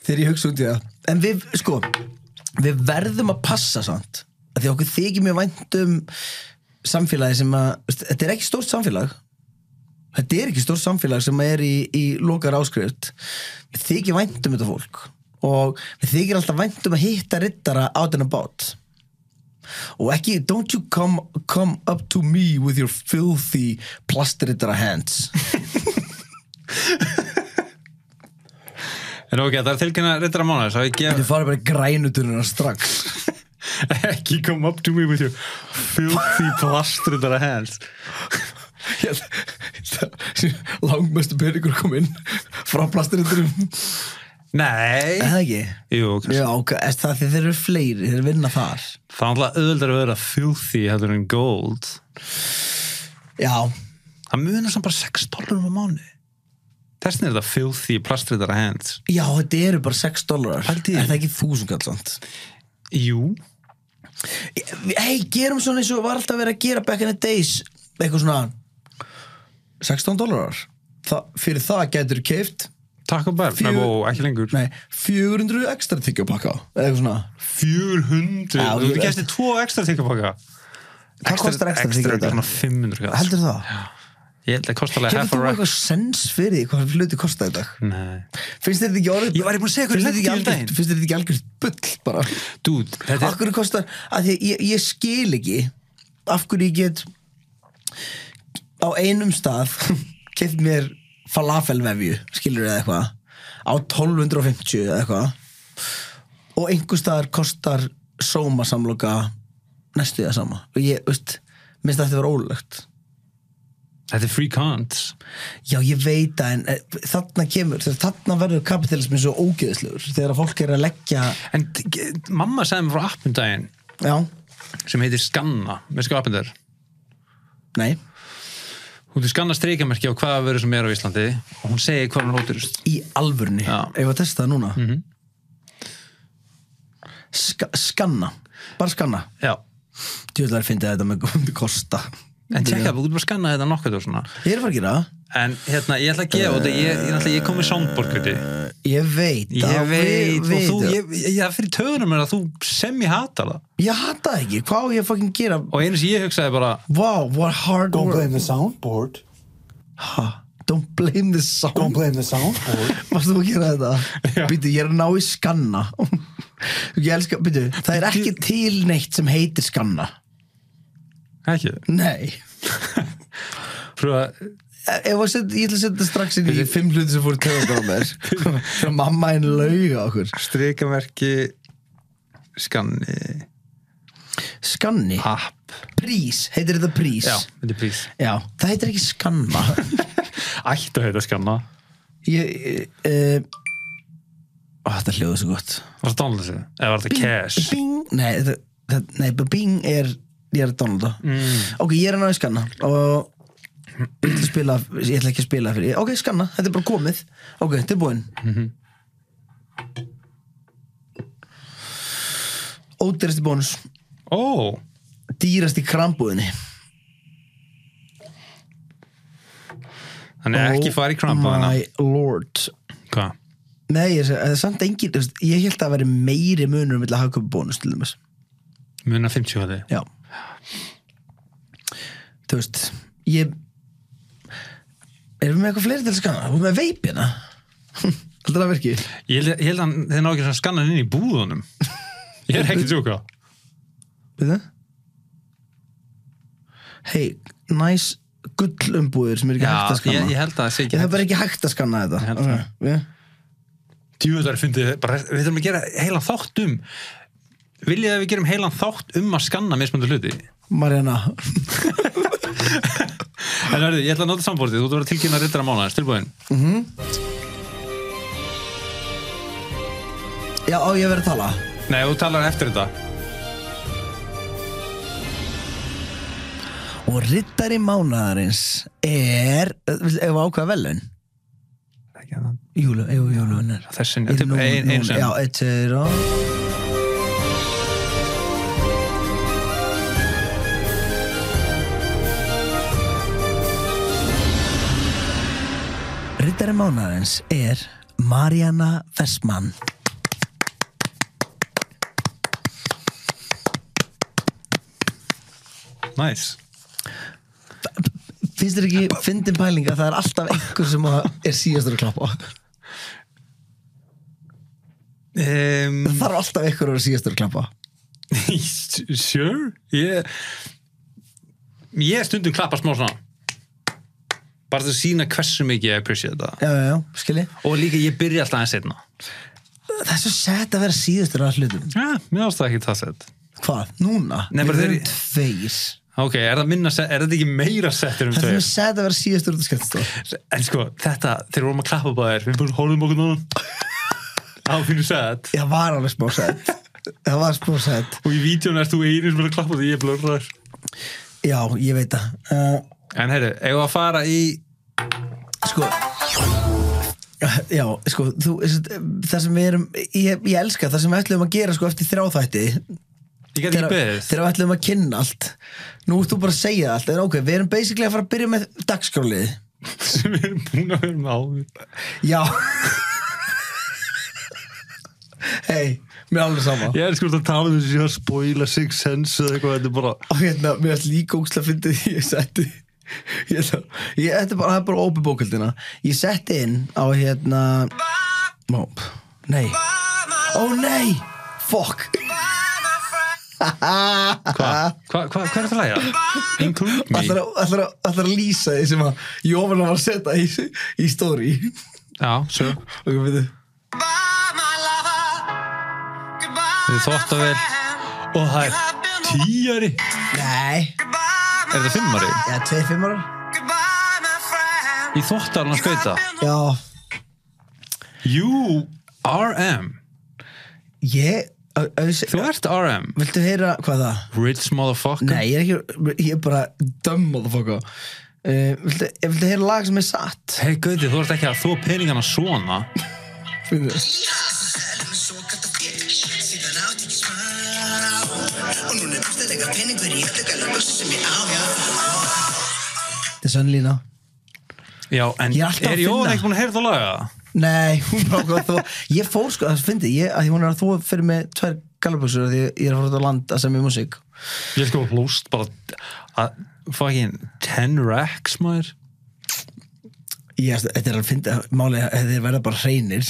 Speaker 2: þegar ég hugsa út í það en við, sko, við verðum að passa samt, að því okkur þykir mjög vænt um samfélagi sem að, veistu, þetta er ekki stórt samfélag þetta er ekki stór samfélag sem er í, í lokar áskrift við þykir væntum þetta fólk og við þykir alltaf væntum að hitta rittara out and about og ekki don't you come, come up to me with your filthy plastrittara hands
Speaker 1: en ok, það er tilkynna rittara mánæðarins að við gefum
Speaker 2: þau fara bara í grænutununa strax
Speaker 1: ekki come up to me with your filthy plastrundara hands
Speaker 2: langmestu peningur kom inn frá plastritturum
Speaker 1: nei
Speaker 2: eða ekki
Speaker 1: Jú, kannski.
Speaker 2: Já, ok, er það því þeir eru fleiri, þeir vinna þar
Speaker 1: það er alltaf auðvöldar að vera filthy heldur en gold
Speaker 2: Já,
Speaker 1: það munar samt bara 6 dólarum á mánu þessin er þetta filthy plastrundara hands
Speaker 2: já, þetta eru bara 6 dólarar Er
Speaker 1: Pældi í því.
Speaker 2: það ekki þúsungallsand?
Speaker 1: jú,
Speaker 2: Hei, gerum svona eins og var alltaf verið að gera back in the days eitthvað svona 16 dólarar Þa, fyrir það getur keift
Speaker 1: Taco Bell,
Speaker 2: Fjör-
Speaker 1: nei, wow, ekki lengur
Speaker 2: nei, 400 ekstra tyggjópakka eða eitthvað svona
Speaker 1: 400,
Speaker 2: Já,
Speaker 1: þú
Speaker 2: ég-
Speaker 1: gæsti 2 ekstra tyggapakka
Speaker 2: Hvað kostar extra
Speaker 1: ekstra
Speaker 2: tyggjópakka?
Speaker 1: er svona 500 kall.
Speaker 2: Heldur það?
Speaker 1: ég held að kosta alveg
Speaker 2: Hefur
Speaker 1: half a
Speaker 2: þú
Speaker 1: rack
Speaker 2: eitthvað sens fyrir því hvað hluti kosta í dag?
Speaker 1: Nei.
Speaker 2: Finnst þér þetta ekki orðið?
Speaker 1: Ég var ekki búin að segja hvað
Speaker 2: Finnst þér þetta ekki
Speaker 1: ég lenti í um
Speaker 2: algjört-
Speaker 1: daginn.
Speaker 2: Finnst þér þetta ekki algjört bull bara?
Speaker 1: Dude, þetta
Speaker 2: Af
Speaker 1: er
Speaker 2: hverju kostar, að því að ég, ég skil ekki af hverju ég get á einum stað keft mér falafelvefju skilur eða eitthvað á 1250 eða eitthvað og einhver staðar kostar sóma samloka næstu það sama og ég, veist, minnst þetta var ólögt
Speaker 1: þetta er free cons
Speaker 2: Já, ég veit það, en eh, þarna kemur, þegar þarna verður kapitalismin svo ógeðslegur, þegar að fólk er að leggja,
Speaker 1: en ge- mamma sagði mér frá appundaginn
Speaker 2: já,
Speaker 1: sem heitir Skanna með skapindir
Speaker 2: nei,
Speaker 1: hún til Skanna streikamerki á hvaða vöru sem er á Íslandi og hún segir hvað hún ódurist
Speaker 2: í alvörni,
Speaker 1: Já. Mhm.
Speaker 2: ef að testa það núna. Ska, skanna, bara skanna.
Speaker 1: já,
Speaker 2: Tjóðlar fyndi þetta með góðum kosta.
Speaker 1: en tjekka það, þú getur bara skannað þetta nokkuð og svona
Speaker 2: Ég er að fara að gera það.
Speaker 1: en hérna, ég ætla að gefa þetta ég, ég, ég, ég kom með soundboard kuti
Speaker 2: Ég veit
Speaker 1: ég
Speaker 2: það,
Speaker 1: veit, og
Speaker 2: við-
Speaker 1: þú,
Speaker 2: við-
Speaker 1: ég, ég, það fyrir töðunum er að þú sem ég hata það
Speaker 2: Ég hata það ekki, hvað á ég að fucking gera?
Speaker 1: og einu sem ég hugsaði bara
Speaker 2: Wow, what hard
Speaker 3: Don't
Speaker 2: work.
Speaker 3: blame the soundboard.
Speaker 2: Ha, don't blame the sound.
Speaker 3: Don't blame the soundboard.
Speaker 2: Varst þú að gera þetta? Býtu, ég er að ná í skanna Ég elska, býtu, það er ekki til neitt sem heitir skanna
Speaker 1: ekki,
Speaker 2: Nei
Speaker 1: frá að
Speaker 2: Eh, Ef að set, ég ætla að setja strax inn í fimm hluti sem fóru tegum á mér Svo mamma henni lauga okkur
Speaker 1: streikamerki skanni
Speaker 2: Skanni
Speaker 1: app
Speaker 2: prís, heitir þetta prís
Speaker 1: Já, þetta er prís
Speaker 2: Já, það heitir ekki skanna
Speaker 1: Ættu að heita skanna
Speaker 2: Ég, uh, ó, þetta hljóðu svo gott
Speaker 1: Var það dónleysið? Eða var það cash?
Speaker 2: Bing, nei, það, það, nei, bara bing er ég er að downloada
Speaker 1: Mm.
Speaker 2: ok, ég er að náði skanna og ég ætla, að spila, ég ætla ekki að spila fyrir ok, skanna, þetta er bara komið ok, tilbúin mm
Speaker 1: Mhm.
Speaker 2: -hmm. ódýrasti bónus
Speaker 1: Ó,
Speaker 2: dýrasti krambúðinni
Speaker 1: hann er ekki farið í krampa
Speaker 2: Oh my lord
Speaker 1: Hvað?
Speaker 2: Nei, ég, seg- það er samt engin, þú veist, ég held að veri meiri munur milli að hagkaupa bónus til þess
Speaker 1: Muna 50 að þið?
Speaker 2: Já Þú veist Ég Erum við með eitthvað fleiri til að skanna? Erum við með veipina? Heldur það virki?
Speaker 1: Ég held- ég held að hann- þeir ná ekki svona skannan inn í búðunum Ég er ekki að tjóka
Speaker 2: Við það? Hei, næs gullumbúðir sem er ekki hægt að skanna
Speaker 1: ég, ég
Speaker 2: ég,
Speaker 1: held að það sé ekki
Speaker 2: Það er bara ekki hægt að skanna
Speaker 1: Ég
Speaker 2: þetta
Speaker 1: held það.
Speaker 2: okay.
Speaker 1: djúðar fundið bara, við þurfum að gera heilan þátt um viljið að við gerum heilan þátt um að skanna mismundu hluti en
Speaker 2: Mariana
Speaker 1: verður, ég ætla að nota samfórtið, þú ert að vera tilkynna rittara mánuðins, tilbúin
Speaker 2: Já, á ég að vera að tala
Speaker 1: nei, þú talar eftir þetta
Speaker 2: Og rittari mánaðarins er Ef ákveða velun Júlu, jú, júlu, hennar
Speaker 1: þessin,
Speaker 2: Ég
Speaker 1: til-
Speaker 2: nú-
Speaker 1: ein-
Speaker 2: núna-
Speaker 1: einu sem
Speaker 2: Já, eitt, tveir og Rittari mánaðins er Mariana Vestmann
Speaker 1: næs,
Speaker 2: Finnst þér ekki fyndin pæling að það er alltaf einhver sem að er síðastur að klappa
Speaker 1: um,
Speaker 2: Það þarf alltaf einhver að vera síðastur að klappa
Speaker 1: sure ég ég stundum klappa smá svona bara til að sína hversu mikið ég appreciate það
Speaker 2: Já, já, já, skilji
Speaker 1: og líka ég byrja alltaf aðeins setna
Speaker 2: Það er svo sett að vera síðastur að hlutum
Speaker 1: já, mér ást það ekki það sett
Speaker 2: Hvað? Núna?
Speaker 1: Nei, bara
Speaker 2: Við
Speaker 1: þeir-
Speaker 2: erum tveir
Speaker 1: ok, er það, minna, set- er þetta ekki meira settur um
Speaker 2: Það er
Speaker 1: tveir
Speaker 2: svo sett að vera síðastur út af skemmtistof
Speaker 1: En sko, þetta, þegar við vorum að klappa bæðir Við búin hóluðum okkur núna Það finnur sætt
Speaker 2: Það var alveg smá sett Það var smá sett
Speaker 1: Og í vídjón erst þú einu sem er að klappa því ég blörðar
Speaker 2: Já, ég veit það uh,
Speaker 1: En heyrðu, eigum við að fara í
Speaker 2: Sko Já, sko, þú, það sem við erum ég, ég elska það sem við ætlum að gera sko eftir þráþætti
Speaker 1: Ég get ekki
Speaker 2: þegar
Speaker 1: beðið
Speaker 2: þegar við ætlum að kynna allt Nú ert þú bara að segja allt en ok, við erum basically að fara að byrja með dagskrálið
Speaker 1: Sem við erum búin að vera með áður
Speaker 2: Já Hei, mér er alveg sama
Speaker 1: Ég er sko að tala um þessi að spoila Six Sense eða eitthvað Þetta er bara
Speaker 2: og hérna, mér erst líka ógst að fyndi því ég setti hérna, ég, þetta er bara, það er bara opið bókaldina ég setti inn á hérna ó, nei ó nei, fuck
Speaker 1: Hvað, hvað, hvað, hvað er það að læga? Include me
Speaker 2: ætlar að, ætlar að, ætlar að lýsa því sem að Jóvan var að setja í, í story
Speaker 1: Já, svo
Speaker 2: og hvað veitu
Speaker 1: Þið þótt að vel Og það er tíari Er
Speaker 2: nei,
Speaker 1: það fimmari?
Speaker 2: já, tveir fimmarar
Speaker 1: Í þóttar hann að skauta
Speaker 2: já,
Speaker 1: You RM
Speaker 2: ég au- au-
Speaker 1: Þú ert RM
Speaker 2: viltu heyra hvað það
Speaker 1: Rich motherfucker
Speaker 2: Nei, ég er ekki, ég er bara dumb motherfucker uh, viltu, eh, viltu heyra lag sem er satt?
Speaker 1: Hei Gauti, þú ert ekki að þú peningana svona
Speaker 2: Finnur
Speaker 4: Síðan átti ekki smá Og núna er aftalega peningur í eftirgæla buxur sem ég á
Speaker 2: Þetta er sönnlína
Speaker 1: Já, en
Speaker 2: Ég er alltaf að
Speaker 1: er Jóhann
Speaker 2: finna.
Speaker 1: ekki búin að heyra það laga?
Speaker 2: Nei, hún bara ákvað að þó Ég fór sko, það finnst ég að því hún er að þú fyrir með tvær gallabuxur því ég er að fara út á land að semja músík
Speaker 1: Ég sko hlúst bara að fucking 10 racks maður
Speaker 2: Ég, þetta er að finna, málið er að þeir verða bara hreinir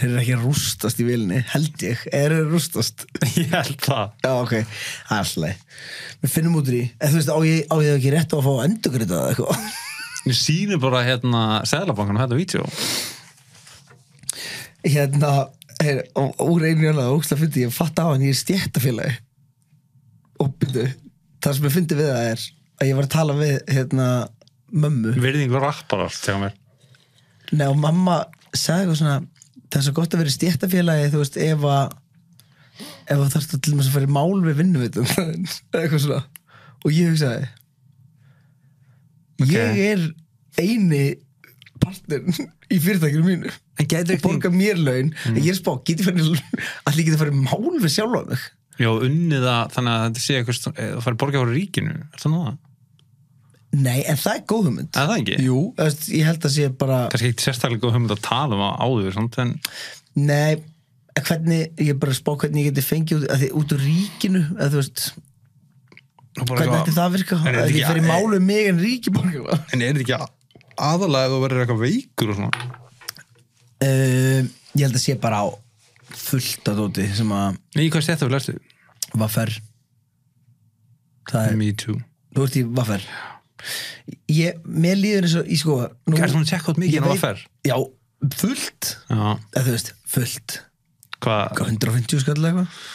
Speaker 2: Þeir eru ekki að rústast í vilni, held ég Er þeir að rústast?
Speaker 1: Ég held það
Speaker 2: Já, ok, það er alltaf Við finnum út úr í, eða þú veist, á ég, á ég ekki rétt á að fá endurgrita það eitthvað
Speaker 1: Ég sýnir bara hérna Sæðlabankan og þetta vídeo
Speaker 2: Hérna, heyr, hérna, úr einu jöla og ógst að fyndi, ég fatt á hann, ég er í stjættafélagi Og byrju, það sem ég fyndi við það er að ég var að tala við hérna mömmu
Speaker 1: Virðing rapparar, þegar mér
Speaker 2: Nei og mamma sagði eitthvað svona það er svo gott að vera í stjættafélagi þú veist ef að ef það þarfst til þess að fara í mál við vinnum við eitthvað svona og ég hugsaði ég er eini partner í fyrirtækjum mínu
Speaker 1: En gæti Mm.
Speaker 2: og borga mér laun en ég er spá, get ég farið allir geti farið í mál við sjálfa mig
Speaker 1: Já, unnið að þannig að þetta sé eitthvað st- eh, það fær borga frá ríkinu, er það nú það?
Speaker 2: nei en það er góð hugmynd
Speaker 1: Er það ekki?
Speaker 2: Jú, þú veist, ég held að sé bara
Speaker 1: Kannski ekkert sérstaklega góð hugmynd að tala um að áður samt, en
Speaker 2: Nei, en hvernig, ég er bara að spá hvernig ég geti fengið út, að því, út úr ríkinu eða þú veist, hvernig ætti það að virka
Speaker 1: En er
Speaker 2: að
Speaker 1: þetta
Speaker 2: ég
Speaker 1: ekki- Eh,
Speaker 2: fer í málu um mig en ríkiborg uh,
Speaker 1: En er þetta ekki a- aðalega ef þú verður eitthvað veikur og svona?
Speaker 2: Eh, Ég held að sé bara á fullt að dóti sem að
Speaker 1: Nei, hvað stætt af lærstu?
Speaker 2: vaffer það er,
Speaker 1: Me too
Speaker 2: þú ert í vaffer ég, mér líður eins og í sko nú,
Speaker 1: Er svona check out
Speaker 2: ég
Speaker 1: mikið en
Speaker 2: veit-
Speaker 1: það fer?
Speaker 2: Já, fullt,
Speaker 1: Já,
Speaker 2: eða þú veist, fullt Hvað,
Speaker 1: hvað?
Speaker 2: 150 skall eða eitthvað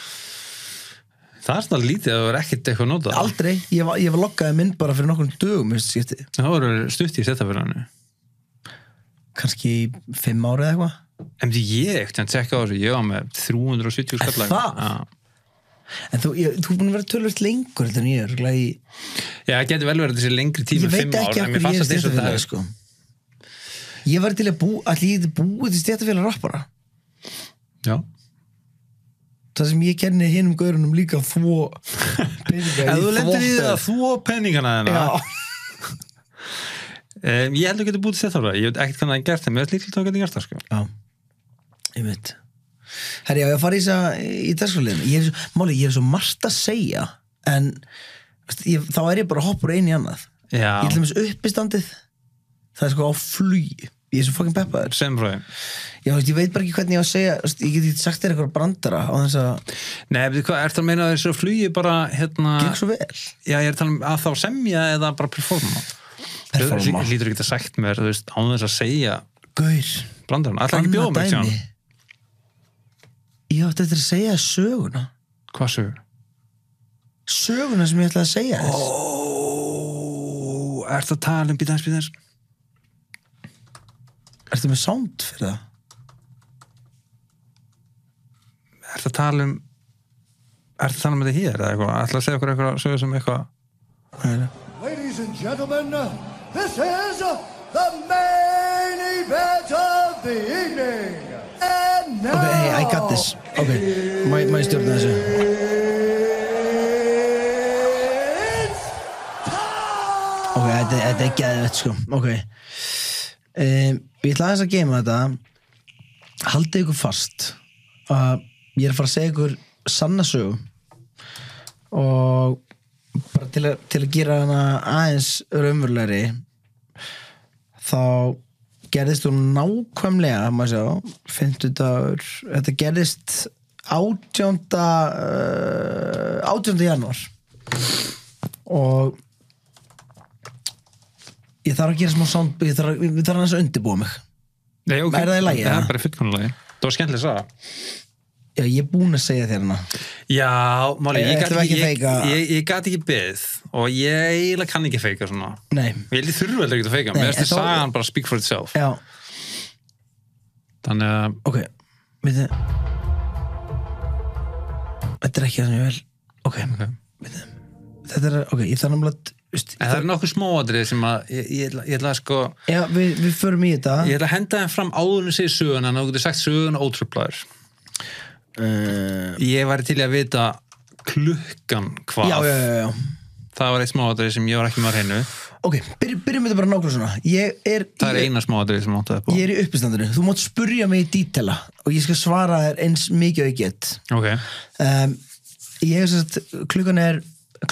Speaker 1: Það er svona lítið að það verður ekkert eitthvað notað
Speaker 2: Aldrei, ég var, ég var lokkaði mynd bara fyrir nokkrum dögum, minnst skipti
Speaker 1: Það verður stutt í stætt af
Speaker 2: kannski í fimm ára eða eitthvað
Speaker 1: En því ég ekkert að tjekka á þessu, ég var með 370
Speaker 2: Er
Speaker 1: skallar.
Speaker 2: það? En þú, ég, þú er búin að vera tölvöld lengur heldur en ég er örugglega í,
Speaker 1: Já, Já, það getur vel verið að þessi lengri tími,
Speaker 2: Ég veit
Speaker 1: 5 ár,
Speaker 2: ekki
Speaker 1: en
Speaker 2: af
Speaker 1: mér fannst
Speaker 2: hverju ég er
Speaker 1: að þessu það
Speaker 2: stjættafélag
Speaker 1: er
Speaker 2: sko.
Speaker 1: sko.
Speaker 2: Ég var til að bú, allir ég geti búið til stjættafélag rappara sko.
Speaker 1: Já.
Speaker 2: Það sem ég kenni hinum gaurunum líka þvó peninga
Speaker 1: En
Speaker 2: í
Speaker 1: þú lendir í það
Speaker 2: þvottavél.
Speaker 1: að þú peningana þennan.
Speaker 2: Já,
Speaker 1: Um, ég held að þú getur búið til þetta Ég veit ekkert hvernig það er gert það, mér er líklega að geta gert það sko.
Speaker 2: já Ég veit Herri, já, ég að fara í þess í dagsfélaginu Ég er svo, máli, ég er svo margt að segja en veist, ég, þá er ég bara hoppur einu í annað
Speaker 1: Já,
Speaker 2: Ég til þess uppistandið það er sko á flug Ég er svo fucking peppaður
Speaker 1: sem frá þeim.
Speaker 2: Já, veist, ég veit bara ekki hvernig ég á að segja veist, ég get ekki sagt þér eitthvað brandara á þess að
Speaker 1: Nei, veitir hvað, ertu að meina að þessu flugi bara, hérna,
Speaker 2: gekk svo vel
Speaker 1: já, ég er að tala um að þá semja eða bara performa.
Speaker 2: Performa.
Speaker 1: Þú lí- Lítur ekki að sagt mér, þú veist, án þess að segja
Speaker 2: Gaur,
Speaker 1: brandarinn. Ætlar ekki að bjóða mig, sjá.
Speaker 2: Ég átti eftir að segja þér söguna
Speaker 1: Hvað sögur?
Speaker 2: Söguna sem ég ætlaði að segja þér
Speaker 1: Ó, ertu að tala um býtans, býtans?
Speaker 2: Ertu með sound fyrir það?
Speaker 1: Er það að tala um Er það að tala um þetta hér eða eitthvað? Ætla að segja okkur eitthvað sögur sem eitthvað
Speaker 2: Nei,
Speaker 5: Ladies and gentlemen, this is the main event of the evening. And now,
Speaker 2: Ok, hey, I got this Ok, má má ég stjórna þessu
Speaker 5: it's time.
Speaker 2: Ok, þetta þetta er geðvett sko Ok um, Ég ætlaði þess að geima þetta Haldið ykkur fast að ég er að fara að segja ykkur sanna sögu og bara til að, til að gera hana aðeins raunverulegri þá gerðist hún nákvæmlega maður sjá, 50 dagur þetta gerðist 18. Uh, 18. janúar og ég þarf að gera smá sound ég þarf, að- ég þarf aðeins að undirbúa mig
Speaker 1: Nei, ok.
Speaker 2: Er það í lagi,
Speaker 1: Það
Speaker 2: eða?
Speaker 1: er bara fullkonulega Það var skemmtileg að sagða
Speaker 2: Já, ég er búinn að segja þér hana
Speaker 1: Já, Máli, ég,
Speaker 2: Ætlum
Speaker 1: gat ekki,
Speaker 2: við ekki að
Speaker 1: ég,
Speaker 2: feika?
Speaker 1: ég, ég gat ekki beðið og ég eiginlega kann ekki feika svona
Speaker 2: Nei,
Speaker 1: Ég held ég þurfa heldur ekki að feika
Speaker 2: Nei,
Speaker 1: Mér finnst
Speaker 2: en
Speaker 1: þið
Speaker 2: þá-
Speaker 1: sagan bara speak for itself
Speaker 2: já,
Speaker 1: Þannig að
Speaker 2: ok Við þið Þetta er ekki það sem ég vil Ok,
Speaker 1: Ok.
Speaker 2: við þið Þetta er, ok, ég þarf náttúrulega veist,
Speaker 1: En það er nokkuð smáadrið sem að ég, ég, ætla- ég ætla að sko
Speaker 2: Já, við, við förum í þetta
Speaker 1: Ég ætla að henda þeim fram áðurinn sig söguna en þú getur sagt söguna ótröflaður
Speaker 2: uh,
Speaker 1: Ég væri til í að vita klukkan hvað
Speaker 2: já, já, já, já
Speaker 1: Það var eitt smáadrið sem ég var ekki með á hreinu
Speaker 2: Ok, byrjum, byrjum þetta bara nákvæmlega svona Ég er,
Speaker 1: Það er
Speaker 2: ég,
Speaker 1: eina smáadrið sem áttu upp á
Speaker 2: ég er í uppistandinu Þú mátt spurja mig í dítela og ég skal svara þér eins mikið og ég get
Speaker 1: Ok,
Speaker 2: um, ég er sérst klukkan er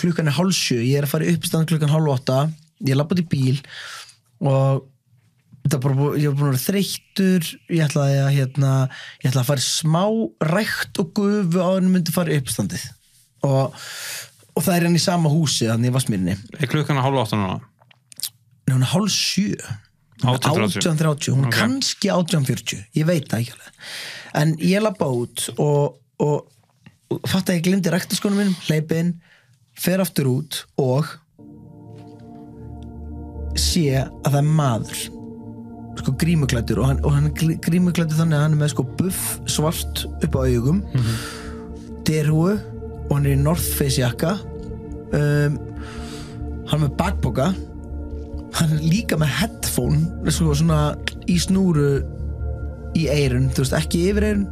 Speaker 2: klukkan er hálf sjö, ég er að fara í uppistand klukkan hálf åtta, ég lappa út í bíl og þetta er bara, bú- ég er búin að vera þreyttur ég ætlaði að hérna ég ætlaði að fara í smá rækt og gufu á henni myndi fara í uppistandið og, og það er hann í sama húsi þannig í Vassmýrinni,
Speaker 1: Er klukkan að hálfa áttan núna?
Speaker 2: en hún er hálf sjö Hún er
Speaker 1: 18:30.
Speaker 2: 18.30, hún er
Speaker 1: Ok.
Speaker 2: kannski 18.40 ég veit það ekki alveg en ég lappa út og, og, og fatt að ég glimti rektaskónum mínum, hleypi inn fer aftur út og sé að það er maður sko grímuklættur og hann, og hann er gl- grímuklæddur þannig að hann er með sko buff svart upp á augum mm og hann er í North Face jakka um, hann er með bakboka hann er líka með headphone sko svona í snúru í eirun, þú veist, ekki yfir eirun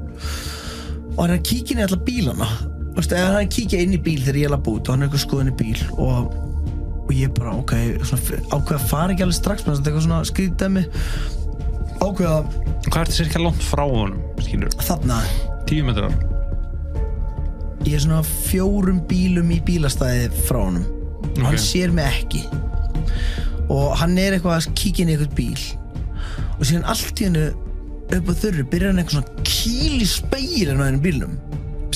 Speaker 2: og hann er að kíkja inn í alla bílana þú veist, eða hann er að kíkja inn í bíl þegar ég er að búta og hann er eitthvað að skoða inn í bíl og, og ég bara, ok, svona, ákveða að fara ekki alveg strax, menn þetta er eitthvað svona skrítdæmi ákveða
Speaker 1: Hvað er þetta sér ekki langt frá honum, skilur?
Speaker 2: þarna,
Speaker 1: Tíu metrar.
Speaker 2: ég er svona fjórum bílum í bílastæði frá honum
Speaker 1: Ok.
Speaker 2: hann sér mig ekki og hann er eitthvað að kíkja inn í eitthvað bíl og síðan allt í hennu upp á þurru byrjar hann eitthvað svona kýl í speilin á þennum bílnum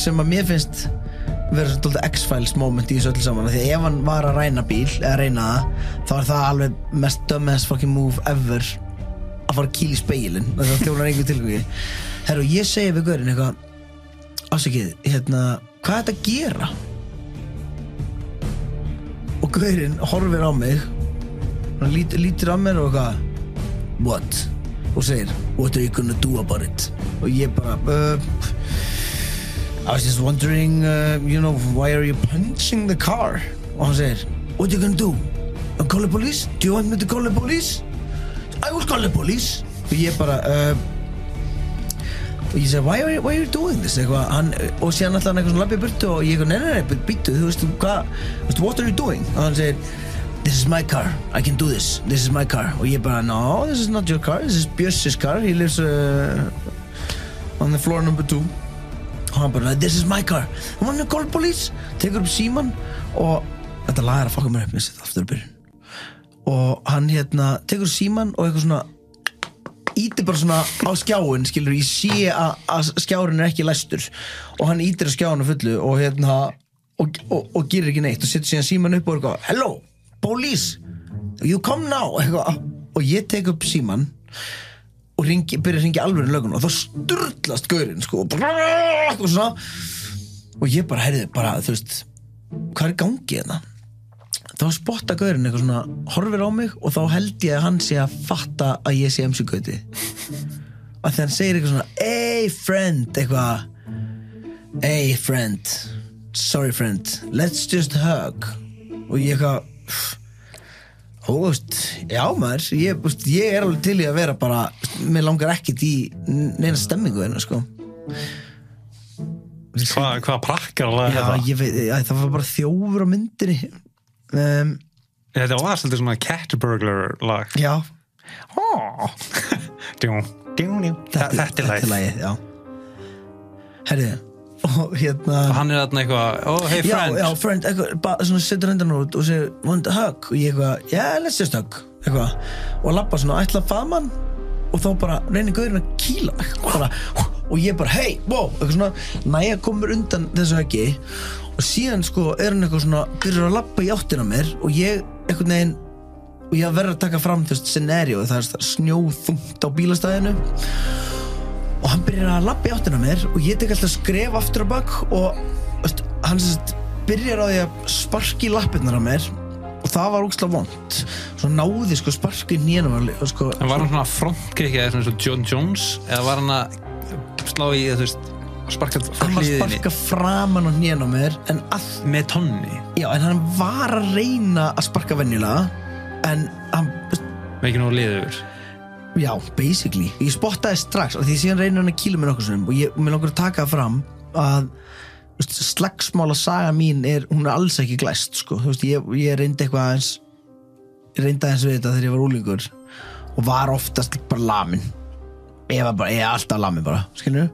Speaker 2: sem að mér finnst vera svona dálítið X-Files moment í þessu öllu saman af því að ef hann var að ræna bíl eða reyna það þá er það alveg mest dumbest fucking move ever að fara kýl í speilin það þjónar einhver tilgöki herru og ég segi við gaurinn eitthvað afsakið, hérna, hvað er þetta að gera? Og gaurinn horfir á mig, hann lít, lítir á mér og eitthvað, what? Og segir, what are you gonna do about it? Og ég bara, uh, I was just wondering, uh, you know, why are you punching the car? Og hann segir, what are you gonna do? Uh, Call the police? Do you want me to call the police? I will call the police. Og ég bara, uh, og ég segi, why are you, why are you doing this eitthvað, hann, og síðan alltaf hann eitthvað svona labbið burtu og ég eitthvað, nei, nei, nei, býttu, þú veist hvað, þú veist, what are you doing og hann segir, this is my car, I can do this this is my car, og ég bara, no, this is not your car this is Björns's car, he lives uh, on the floor number two og hann bara, this is my car og hann er call police, tekur upp síman og þetta lagar að fokka mér upp með sér aftur að byrjun og hann hérna, tekur síman og eitthvað svona ítir bara svona á skjáin skilur, ég sé að- að skjárin er ekki læstur og hann ítir á skjáin á fullu og hérna og, og, og gerir ekki neitt og setur síðan síman upp og er eitthvað hello, police, you come now eitthvað. og ég tek upp síman og ringi, byrja að ringi alveg lögun og þá sturlast gaurinn sko, og, bara, og svona og ég bara heyrði bara, þú veist hvað er í gangi hérna þá spotta gaurinn eitthvað svona horfir á mig og þá held ég að hann sé að fatta að ég sé MC Gauti og þegar hann segir eitthvað svona hey friend eitthvað hey friend sorry friend let's just hug og ég eitthvað Ó, þú veist, já maður, ég, þú veist, ég er alveg til í að vera bara, mér langar ekkert í neina stemmingu hérna, sko.
Speaker 1: Hva, hvaða prakkar að laga
Speaker 2: Já,
Speaker 1: þetta?
Speaker 2: ég veit, já, það var bara þjófur á myndinni. Um,
Speaker 1: Þetta var svolítið svona cat burglar lag.
Speaker 2: já,
Speaker 1: Oh. djú, djú, djú. Þa- Þetta er læg.
Speaker 2: lagið, já Herri, og hérna
Speaker 1: Hann er þarna eitthvað, oh hey
Speaker 2: já,
Speaker 1: friend.
Speaker 2: já, friend, eitthvað, bara svona setur hendan út og segir, want a hug og ég eitthvað, yeah, let's just hug eitthvað, og lappa svona, ætla að faðma hann og þá bara reynir gauðurinn að kýla mig og, bara, og ég bara, hey, wow eitthvað svona, næja komur undan þessu huggi og síðan sko er hann eitthvað svona byrjar að lappa í áttina að mér og ég, eitthvað neginn og ég verður að taka fram þú veist scenario það er snjóþungt á bílastæðinu og hann byrjar að lappa í áttina að mér og ég tek alltaf skref aftur á bak og veist, hann sérst byrjar á því að sparki lappirnar á mér og það var úkslega vond svo náði sko sparki nýjanum sko,
Speaker 1: En var hann svona frontkikið eða svona eins og John Jones eða var hann að slá í eða þú veist að sparka frá
Speaker 2: hann var að
Speaker 1: hliðinni
Speaker 2: sparka framan á nýjanum mér en, að,
Speaker 1: með tonni
Speaker 2: já, en hann var að reyna að sparka venjulega en hann veist,
Speaker 1: með ekki nú liður
Speaker 2: Já, basically Ég spottaði strax og því síðan reynir hann að kýla mér nokkur sinnum og ég og mér langar að taka það fram að þú veist, slagsmála saga mín er, hún er alls ekki glæst sko. Þú veist, ég, ég reyndi eitthvað aðeins ég reyndi aðeins við þetta þegar ég var úlingur og var oftast bara lamin ég var bara, ég er alltaf lamin bara skilur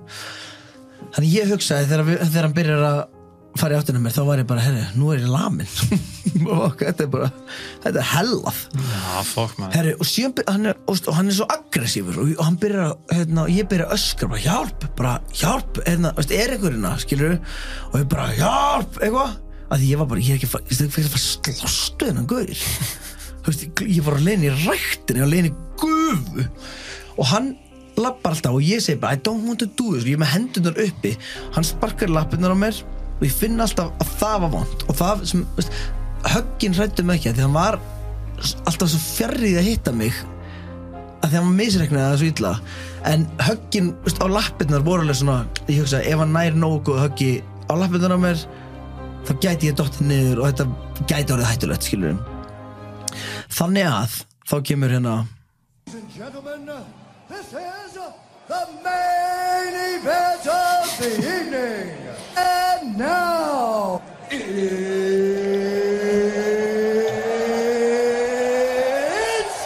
Speaker 2: þannig ég hugsaði þegar, við, þegar hann byrjar að fara í áttina að mér, þá var ég bara, herri, nú er ég lamin og þetta er bara þetta er hellað
Speaker 1: Já, fokk maður
Speaker 2: Herri, og, síðan, byr- hann er, og, og hann er svo aggressífur og, og hann byrjar að, hérna, og ég byrja að öskra bara hjálp, bara hjálp hérna, veist, er einhver hérna, skilur og ég bara hjálp, eitthvað að því ég var bara, ég er ekki að fara- ég fyrir að fara að slóstu hennan gaur Þú veist, ég- ég var að leiðin í ræktinni, ég var að leiðin í gufu og hann lappar alltaf og ég segi bara I don't want to do this, ég er með hendunar uppi hann sparkar lappinnar á mér og ég finn alltaf að það var vond og það sem, veist, höggin hrættum ekki að því að hann var s- alltaf svo fjarrið að hitta mig að því að hann var misreiknaði það svo illa en höggin veist, á lappirnar voru alveg svona, ég hugsa, ef hann nær nógu góðu höggi á lappirnar á mér þá gæti ég dottið niður og þetta gæti orðið hættulegt, skilur þannig að, þá kemur hérna
Speaker 5: Ladies and gentlemen, this is the main event of the evening. And now, it's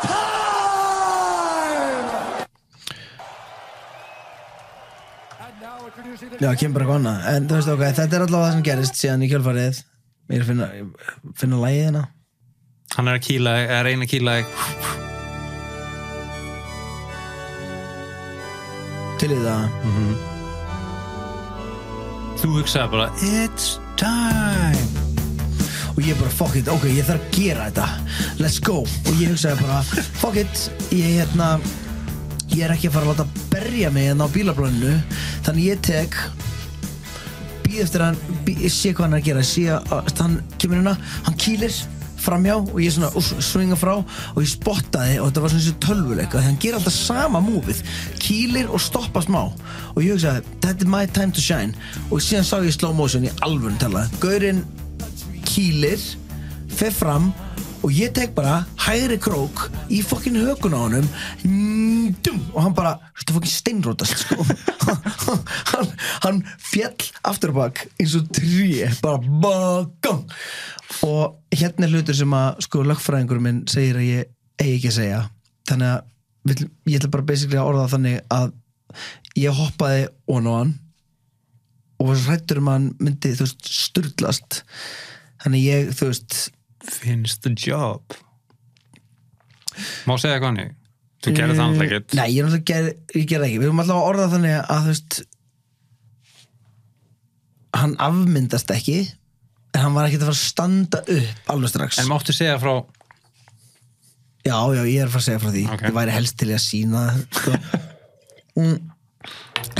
Speaker 5: time!
Speaker 2: já, kemur bara kona, en þú veist ok þetta er allavega það sem gerist síðan í kjölfarið ég er að finna, finna lagið hérna
Speaker 1: Hann er að kýla, þig, er að reyna að kýla þig.
Speaker 2: til í það
Speaker 1: Þú hugsaði bara It's time
Speaker 2: og ég bara fuck it, ok, ég þarf að gera þetta let's go, og ég hugsaði bara fuck it, ég hérna ég er ekki að fara að láta berja mig hérna á bílablóninu, þannig ég tek býð eftir að hann bí, ég sé hvað hann er að gera, ég sé að að hann kemur hérna, hann kýlir framjá og ég svona úff, svinga frá og ég spottaði og þetta var svona eins og tölvuleik að hann gera alltaf sama múfið kýlir og stoppa smá og ég hugsaði, þetta er my time to shine og síðan sá ég slow motion í alvun tala gaurinn kýlir fer fram og ég tek bara hægri krók í fokkin hökun á honum mm, dum, og hann bara þetta fokkin steinrótast sko. hann, hann fjall afturbak eins og tré bara bakum og hérna er hlutur sem að sko lögfræðingur minn segir að ég eigi ekki að segja þannig að vill- ég ætla bara basically að orða það þannig að ég hoppaði on og hann og var svo hrættur um að hann myndi þú veist sturlast þannig ég þú veist
Speaker 1: Finish the job Má segja eitthvað hannig Þú gerði það alltaf ekkert
Speaker 2: Eh, Nei, ég er náttúrulega ger, ég gerði ekki Við erum alltaf að orða þannig að þú veist Hann afmyndast ekki En hann var ekkert að fara að standa upp Alveg strax
Speaker 1: En máttu segja frá
Speaker 2: Já, já, ég er að fara að segja frá því
Speaker 1: Ok.
Speaker 2: Ég væri helst til í að sína sko. mm.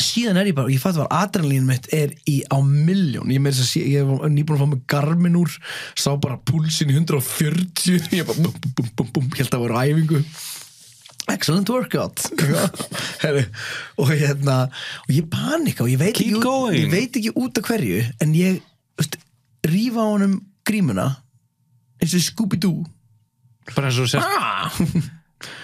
Speaker 2: Síðan er ég bara Ég fatt var adrenalín mitt er í á milljón Ég, meira að segja- ég var nýbúin að fá mig garmin úr Sá bara púlsin í 140 Ég bara bum, bum, bum, bum Helt að vera á æfingu Excellent workout Heru, og hérna og ég panika og ég veit,
Speaker 1: Keep
Speaker 2: ekki út,
Speaker 1: going.
Speaker 2: ég veit ekki út af hverju en ég veist, rífa á honum grímuna eins og í Scooby-Doo
Speaker 1: bara eins og sér,
Speaker 2: ah!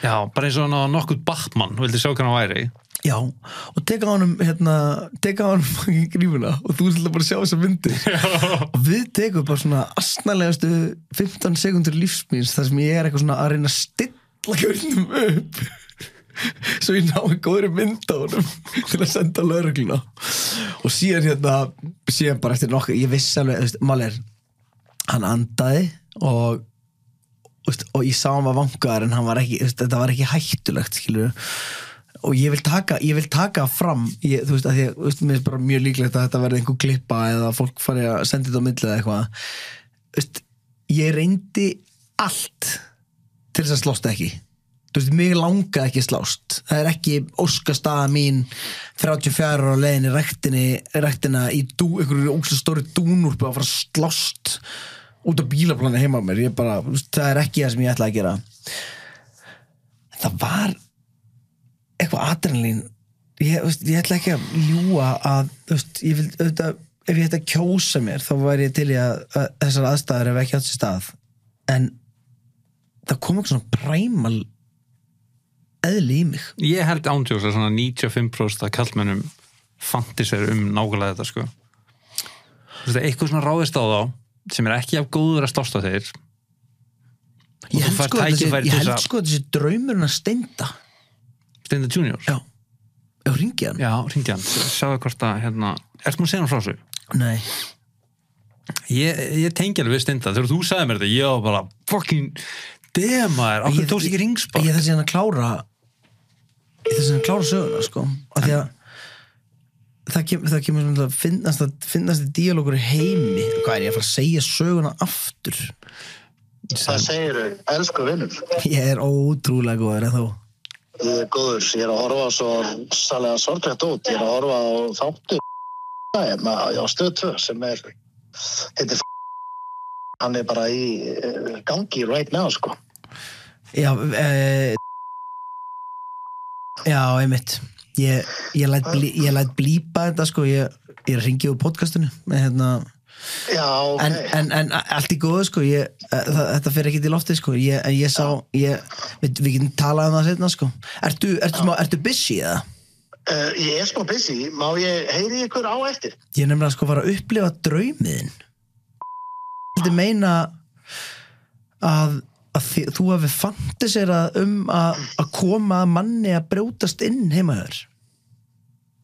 Speaker 1: já, bara eins og hann á nokkuð Batman, þú vildi sjá hvernig hann væri
Speaker 2: Já, og teka á honum hérna, teka á honum fucking grífuna og þú ætla bara að sjá þessa myndi og við tekum bara svona astnalegastu 15 sekundur lífsmýns þar sem ég er eitthvað svona að reyna að stilla kjörnum upp svo ég náði góðri mynd á honum til að senda lögregluna og síðan hérna síðan bara eftir nokkuð, ég vissi alveg þú veist, mál er, hann andaði og þú veist, og ég sá hann var vangaðar en hann var ekki, þú veist, þetta var ekki hættulegt skilur og ég vil taka, ég vil taka fram ég, þú veist, að ég, þú veist, mér er bara mjög líklegt að þetta verði einhver klippa eða fólk fari að senda þetta á milli eða eitthvað Þú veist, ég reyndi allt til þess að slást ekki þú veist, mig langaði ekki að slást það er ekki óskastaða mín 34 ára á leiðinni rektinni rektina í dú, einhverju ógstu stóri dúnúrpu að fara að slást út á bílaplani heima á mér ég bara, þú veist, það er ekki það sem ég ætlaði að gera það var eitthvað adrenalín ég, þú veist, ég ætla ekki að ljúa að þú veist, ég vil, auðvitað, ef ég ætti að kjósa mér þá væri ég til í að, að þessar aðstæður hef ekki átt sér stað en það kom eitthvað svona præmal eðli í mig
Speaker 1: ég held ándjóðs að svona 95% af kallmennum fanti sér um nákvæmlega þetta sko Þú veist, eitthvað svona ráðist á þá sem er ekki af góður að slásta þeir þú
Speaker 2: ég held
Speaker 1: færð
Speaker 2: sko að
Speaker 1: tækifæri til
Speaker 2: þessi, ég
Speaker 1: þess
Speaker 2: held
Speaker 1: að-
Speaker 2: sko að þessi draumurinn að steinda
Speaker 1: Steinda Junior,
Speaker 2: já, já ringi hann
Speaker 1: já, hringdi hann sjáðu hvort að, hérna, ert múið að segja hann frá sig
Speaker 2: nei,
Speaker 1: ég, ég tengi alveg við Steinda, þegar þú sagði mér þetta ég var bara, fucking damn maður,
Speaker 2: Ég-
Speaker 1: okkur tókst ekki ringspark
Speaker 2: ég þess að hann að klára ég þess að hann að klára söguna sko af því að það, kem, það kemur svona að finnast að finnast að díalókur í heimi hvað er ég að fara að segja söguna aftur
Speaker 6: Það segir þau, elsku vinnur.
Speaker 2: ég er ótrúlega góður eða þó
Speaker 6: Ég er góður, ég er að horfa á svo salega sorglegt út. Ég er að horfa á þáttu það er maður á stöð 2 sem er heitir f- hann er bara í eh, gangi right now sko
Speaker 2: Já, e, já einmitt Ég, ég læt, blí, ég læt blípa þetta sko Ég, ég ringi úr podcastinu en, hérna,
Speaker 6: já ok
Speaker 2: en, en, en allt í góðu sko ég, eh, það, Þetta fer ekki til loftið sko ég, En ég sá ég, við, við getum talað um það setna sko Ertu, ertu, smá, ertu busy eða?
Speaker 6: Eh, ég er smá busy, má ég heyri ykkur á eftir
Speaker 2: Ég er nefnilega sko var að upplifa draumiðin Þetta meina að, að þi, þú hafi fantiserað um að, að koma að manni að brjótast inn heima þér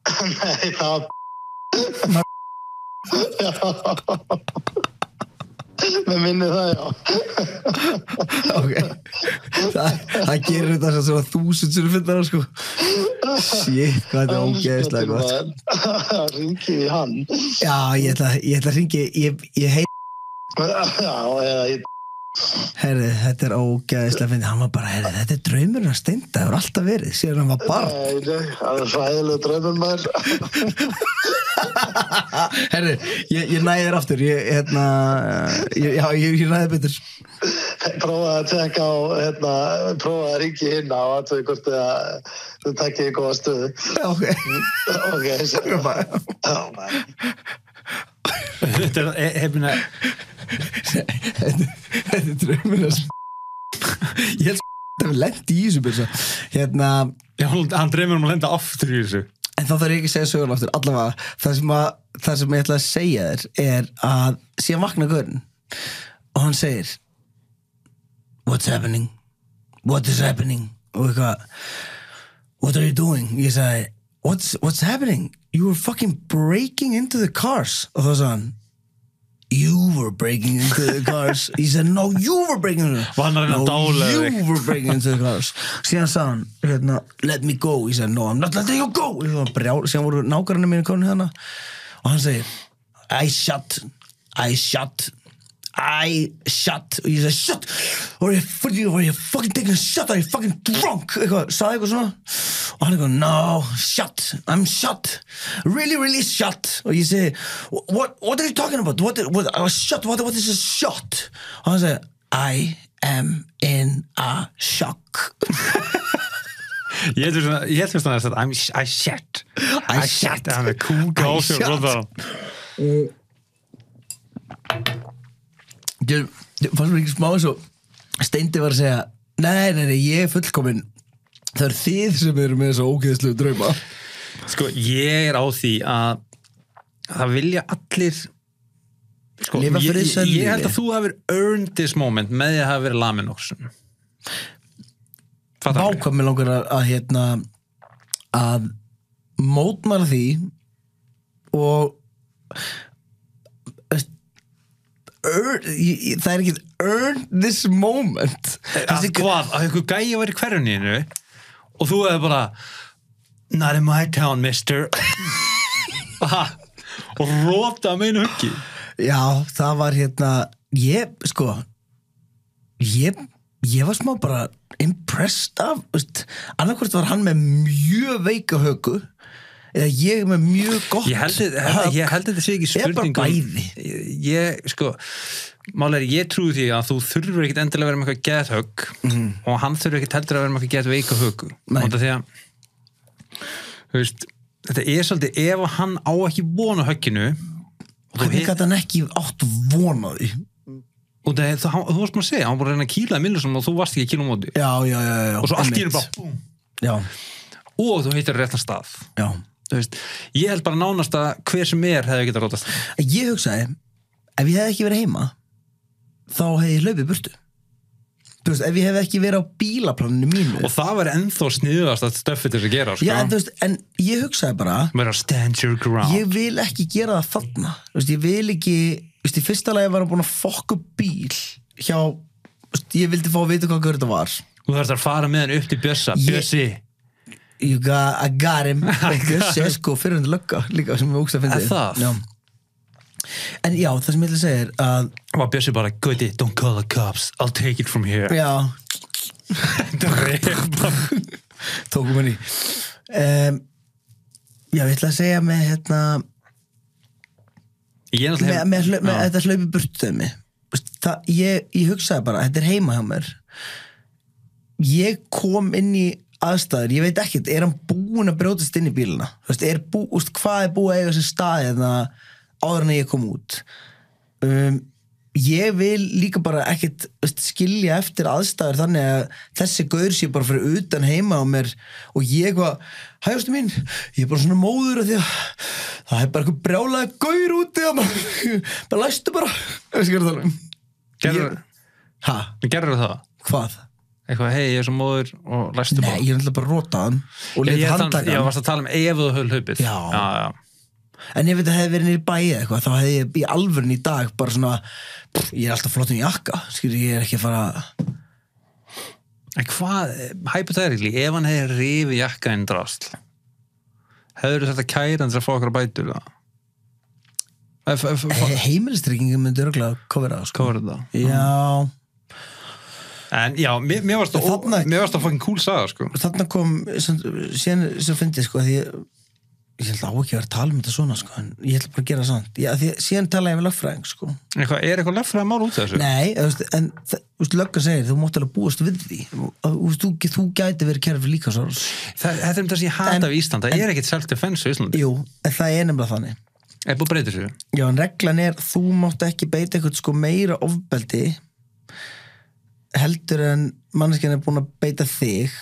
Speaker 6: nei það
Speaker 2: Ma-
Speaker 6: já með minni það já
Speaker 2: Ok Það, það gerir þetta sem svona þúsund sem finnar sko Shit, hvað þetta er ógeðislega gott sko.
Speaker 6: gott ringið í hann
Speaker 2: Já, ég ætla, ég ætla að ringi Ég, ég hei,
Speaker 6: já eða í
Speaker 2: herri, þetta er ógeðislega finnar Hann var bara, herri, þetta er draumurinn að steinda Það er alltaf verið, síðan hann var barn
Speaker 6: Nei, nei, það er fræðilega drömmum maður
Speaker 2: Herri, ég, ég næði þér aftur Ég, hérna, ég, já, ég, ég næði betur
Speaker 6: prófaði að tekka á hérna, prófaði að ringi inn á aðtöðu hvort það þú takkið í góða stöðu
Speaker 2: Ok
Speaker 6: ok, sem
Speaker 1: Þetta er, e, e, minna,
Speaker 2: Þetta þetta er draumurinn að Ég held að við lendi í þessu byrja Hérna
Speaker 1: já, hún- hann dreymir um að lenda aftur í þessu
Speaker 2: En þá þarf ég ekki að segja sögur aftur Allavega, það sem, að, það sem ég ætla að segja þér er að síðan vakna görn og hann segir What's happening? What is happening? Og eitthvað What are you doing? Ég sagði What's, what's happening? You were fucking breaking into the cars og þá sagði hann You were breaking into the cars He said, no, you were breaking into the cars
Speaker 1: Var hann að reyna að dáleiða
Speaker 2: No,
Speaker 1: þig?
Speaker 2: you were breaking into the cars Síðan sagði hann, hérna, let me go He said, no, I'm not letting you go Ég var brjál, Síðan voru nákvæmni mínu konu hérna Og hann segir, I shot I shot I shot Og ég sagði, shot Were you, were you, were you fucking taking a shot? Are you fucking drunk? Eitthvað, sagði eitthvað svona Og hann eitthvað, no, shot I'm shot, really, really shot Og ég segi, what, what are you talking about? What, what, a shot, what, what is a shot? Og hann segi, I am in a shock
Speaker 1: Ég held fyrst- ég held fyrst að það er að I'm, I shit
Speaker 2: I shot.
Speaker 1: Hann er kúka á
Speaker 2: I
Speaker 1: sér
Speaker 2: shot.
Speaker 1: róðar hann.
Speaker 2: Ég ég fannst mér ekki smá eins og Steindi var að segja Nei, nei, nei, ég er fullkomin Það er þið sem eru með þessu ógeðslu drauma
Speaker 1: Sko, ég er á því að það vilja allir sko,
Speaker 2: Lifa
Speaker 1: ég,
Speaker 2: fyrir
Speaker 1: ég,
Speaker 2: þessu
Speaker 1: ég held
Speaker 2: lífi.
Speaker 1: að þú hafir earned this moment með því að hafa verið lamin óksum Fattar mig?
Speaker 2: Vákvæm mér langar að, að hérna að mótmæla því og veist, earn, ég, ég, það er ekki earn this moment
Speaker 1: Að
Speaker 2: Þessi-
Speaker 1: hvað, að ykkur gæi var í hverjuninu og þú hefði bara Not in my town, mister Ha, og róta að meina huggi
Speaker 2: Já, það var hérna ég, sko ég, ég var smá bara impressed af veist, annarkvort var hann með mjög veika högu eða ég með mjög gott
Speaker 1: Ég held, held,
Speaker 2: högg.
Speaker 1: ég held að þetta sé ekki
Speaker 2: Eða bara
Speaker 1: spurning um-
Speaker 2: bæði.
Speaker 1: Ég- Ég, sko Málega, ég trúi því að þú þurfur ekkit endilega að vera með eitthvað gethögg og hann þurfur ekkit heldur að vera með eitthvað getveika högg
Speaker 2: Nei.
Speaker 1: og því að þú veist, þetta er svolítið ef að hann á ekki vona högginu og þú
Speaker 2: hvernig
Speaker 1: hitt
Speaker 2: gæti hann ekki átt vonaði
Speaker 1: og það, er- þú, hann- þú varst maður að segja, hann var bara að reyna að kýla Millersson og þú varst ekki að kýla á móti
Speaker 2: já, já, já, já
Speaker 1: og svo allt í hennu
Speaker 2: einmitt.
Speaker 1: bara búm,
Speaker 2: já,
Speaker 1: og þú heitir á réttan stað
Speaker 2: já.
Speaker 1: Þú veist, ég held bara nánast að hver sem er hefði getað rótast það.
Speaker 2: ég hugsaði, ef ég hef ekki verið heima þá hef ég hlaupið burtu Þú veist, ef ég hef ekki verið á bílaplaninu mínu
Speaker 1: og það var ennþá sniðast að stöffi til þess að gera sko.
Speaker 2: já, en, þú veist, en ég hugsaði bara
Speaker 1: meira stand your ground
Speaker 2: ég vil ekki gera það þarna Þú veist, ég vil ekki þú veist, í fyrsta lagi var hann búin að fokka upp bíl hjá, þú veist, ég vildi fá að vita hvað gaur þetta var
Speaker 1: og það er að fara með hann upp til Bjössa
Speaker 2: Ég-
Speaker 1: Bjössi,
Speaker 2: you got, I got him og Bjössi er sko fyrir hann lögga líka sem ég ógst að
Speaker 1: Er það?
Speaker 2: fyndi en já, það sem ég ætla að segja er að
Speaker 1: var Bjössi bara goody, don't call the cops, I'll take it from here
Speaker 2: já, tókum hann í um, já, ég ætla að segja með hérna
Speaker 1: Ég er
Speaker 2: með,
Speaker 1: náttúrulega
Speaker 2: með, hlau- með
Speaker 1: Já.
Speaker 2: þetta hlaupi burt þau mig Veist, það, ég, ég hugsaði bara, þetta er heima hjá mér ég kom inn í aðstæður, ég veit ekkert er hann búinn að brjótast inn í bíluna Vist, er bú, úst, hvað er búið að eiga sér staði þarna áður en ég kom út um, ég vil líka bara ekkert veist, skilja eftir aðstæður þannig að þessi gaur sé bara fyrir utan heima á mér og ég eitthvað, hægjastu mín ég er bara svona móður af því að það er bara eitthvað brjálega gaur úti og bara, bara læstu bara veist hvað er um? það
Speaker 1: Gerður,
Speaker 2: hæ,
Speaker 1: gerður það?
Speaker 2: hvað?
Speaker 1: Eitthvað, hei, ég er svo móður og læstu
Speaker 2: Nei, ég er alltaf bara að rota hann og
Speaker 1: ég,
Speaker 2: leta
Speaker 1: ég,
Speaker 2: handtaka
Speaker 1: ég
Speaker 2: hann
Speaker 1: varst að tala um ef þú höll hlaupið
Speaker 2: Já.
Speaker 1: já, já.
Speaker 2: en ef þetta hefði verið nýr bæi eða eitthvað þá hefði ég í alvörn í dag bara svona pff, ég er alltaf flottin í jakka skil, ég er ekki að fara
Speaker 1: En hvað, hypothetically, ef hann hefði rifið jakka inn drasl hefur þetta kæran til að fá okkur að bætur það? Ef- ef-
Speaker 2: Eh.
Speaker 1: ef-
Speaker 2: heimilistryggingum myndi örgulega kofera það sko.
Speaker 1: Hvað var þetta?
Speaker 2: já,
Speaker 1: En já, mér, mér varst að,
Speaker 2: Þarna-
Speaker 1: mér varst að fucking cool saga, sko.
Speaker 2: þarna kom sem, síðan sem fyndi sko að ég, ég held á ekki að vera að tala um þetta svona sko, en ég held bara að gera það samt já, því, að síðan tala ég við lögfræðing sko
Speaker 1: Eitthvað, er eitthvað leffræði mál út af þessu?
Speaker 2: Nei, þú veist, en það- þú veist, löggan segir þú mátt alveg búast við því þú, veist, þú, þú gæti verið kæra fyrir líka svo
Speaker 1: Það, þetta er um þess að ég hata
Speaker 2: En-
Speaker 1: af Ísland. Það er ekkit self-defense í Íslandi.
Speaker 2: Jú, en það er nefnilega þannig
Speaker 1: Er búið að breyta þessu?
Speaker 2: Já, en reglan er þú mátt ekki beita eitthvað sko meira ofbeldi heldur en manneskjan er búin að beita þig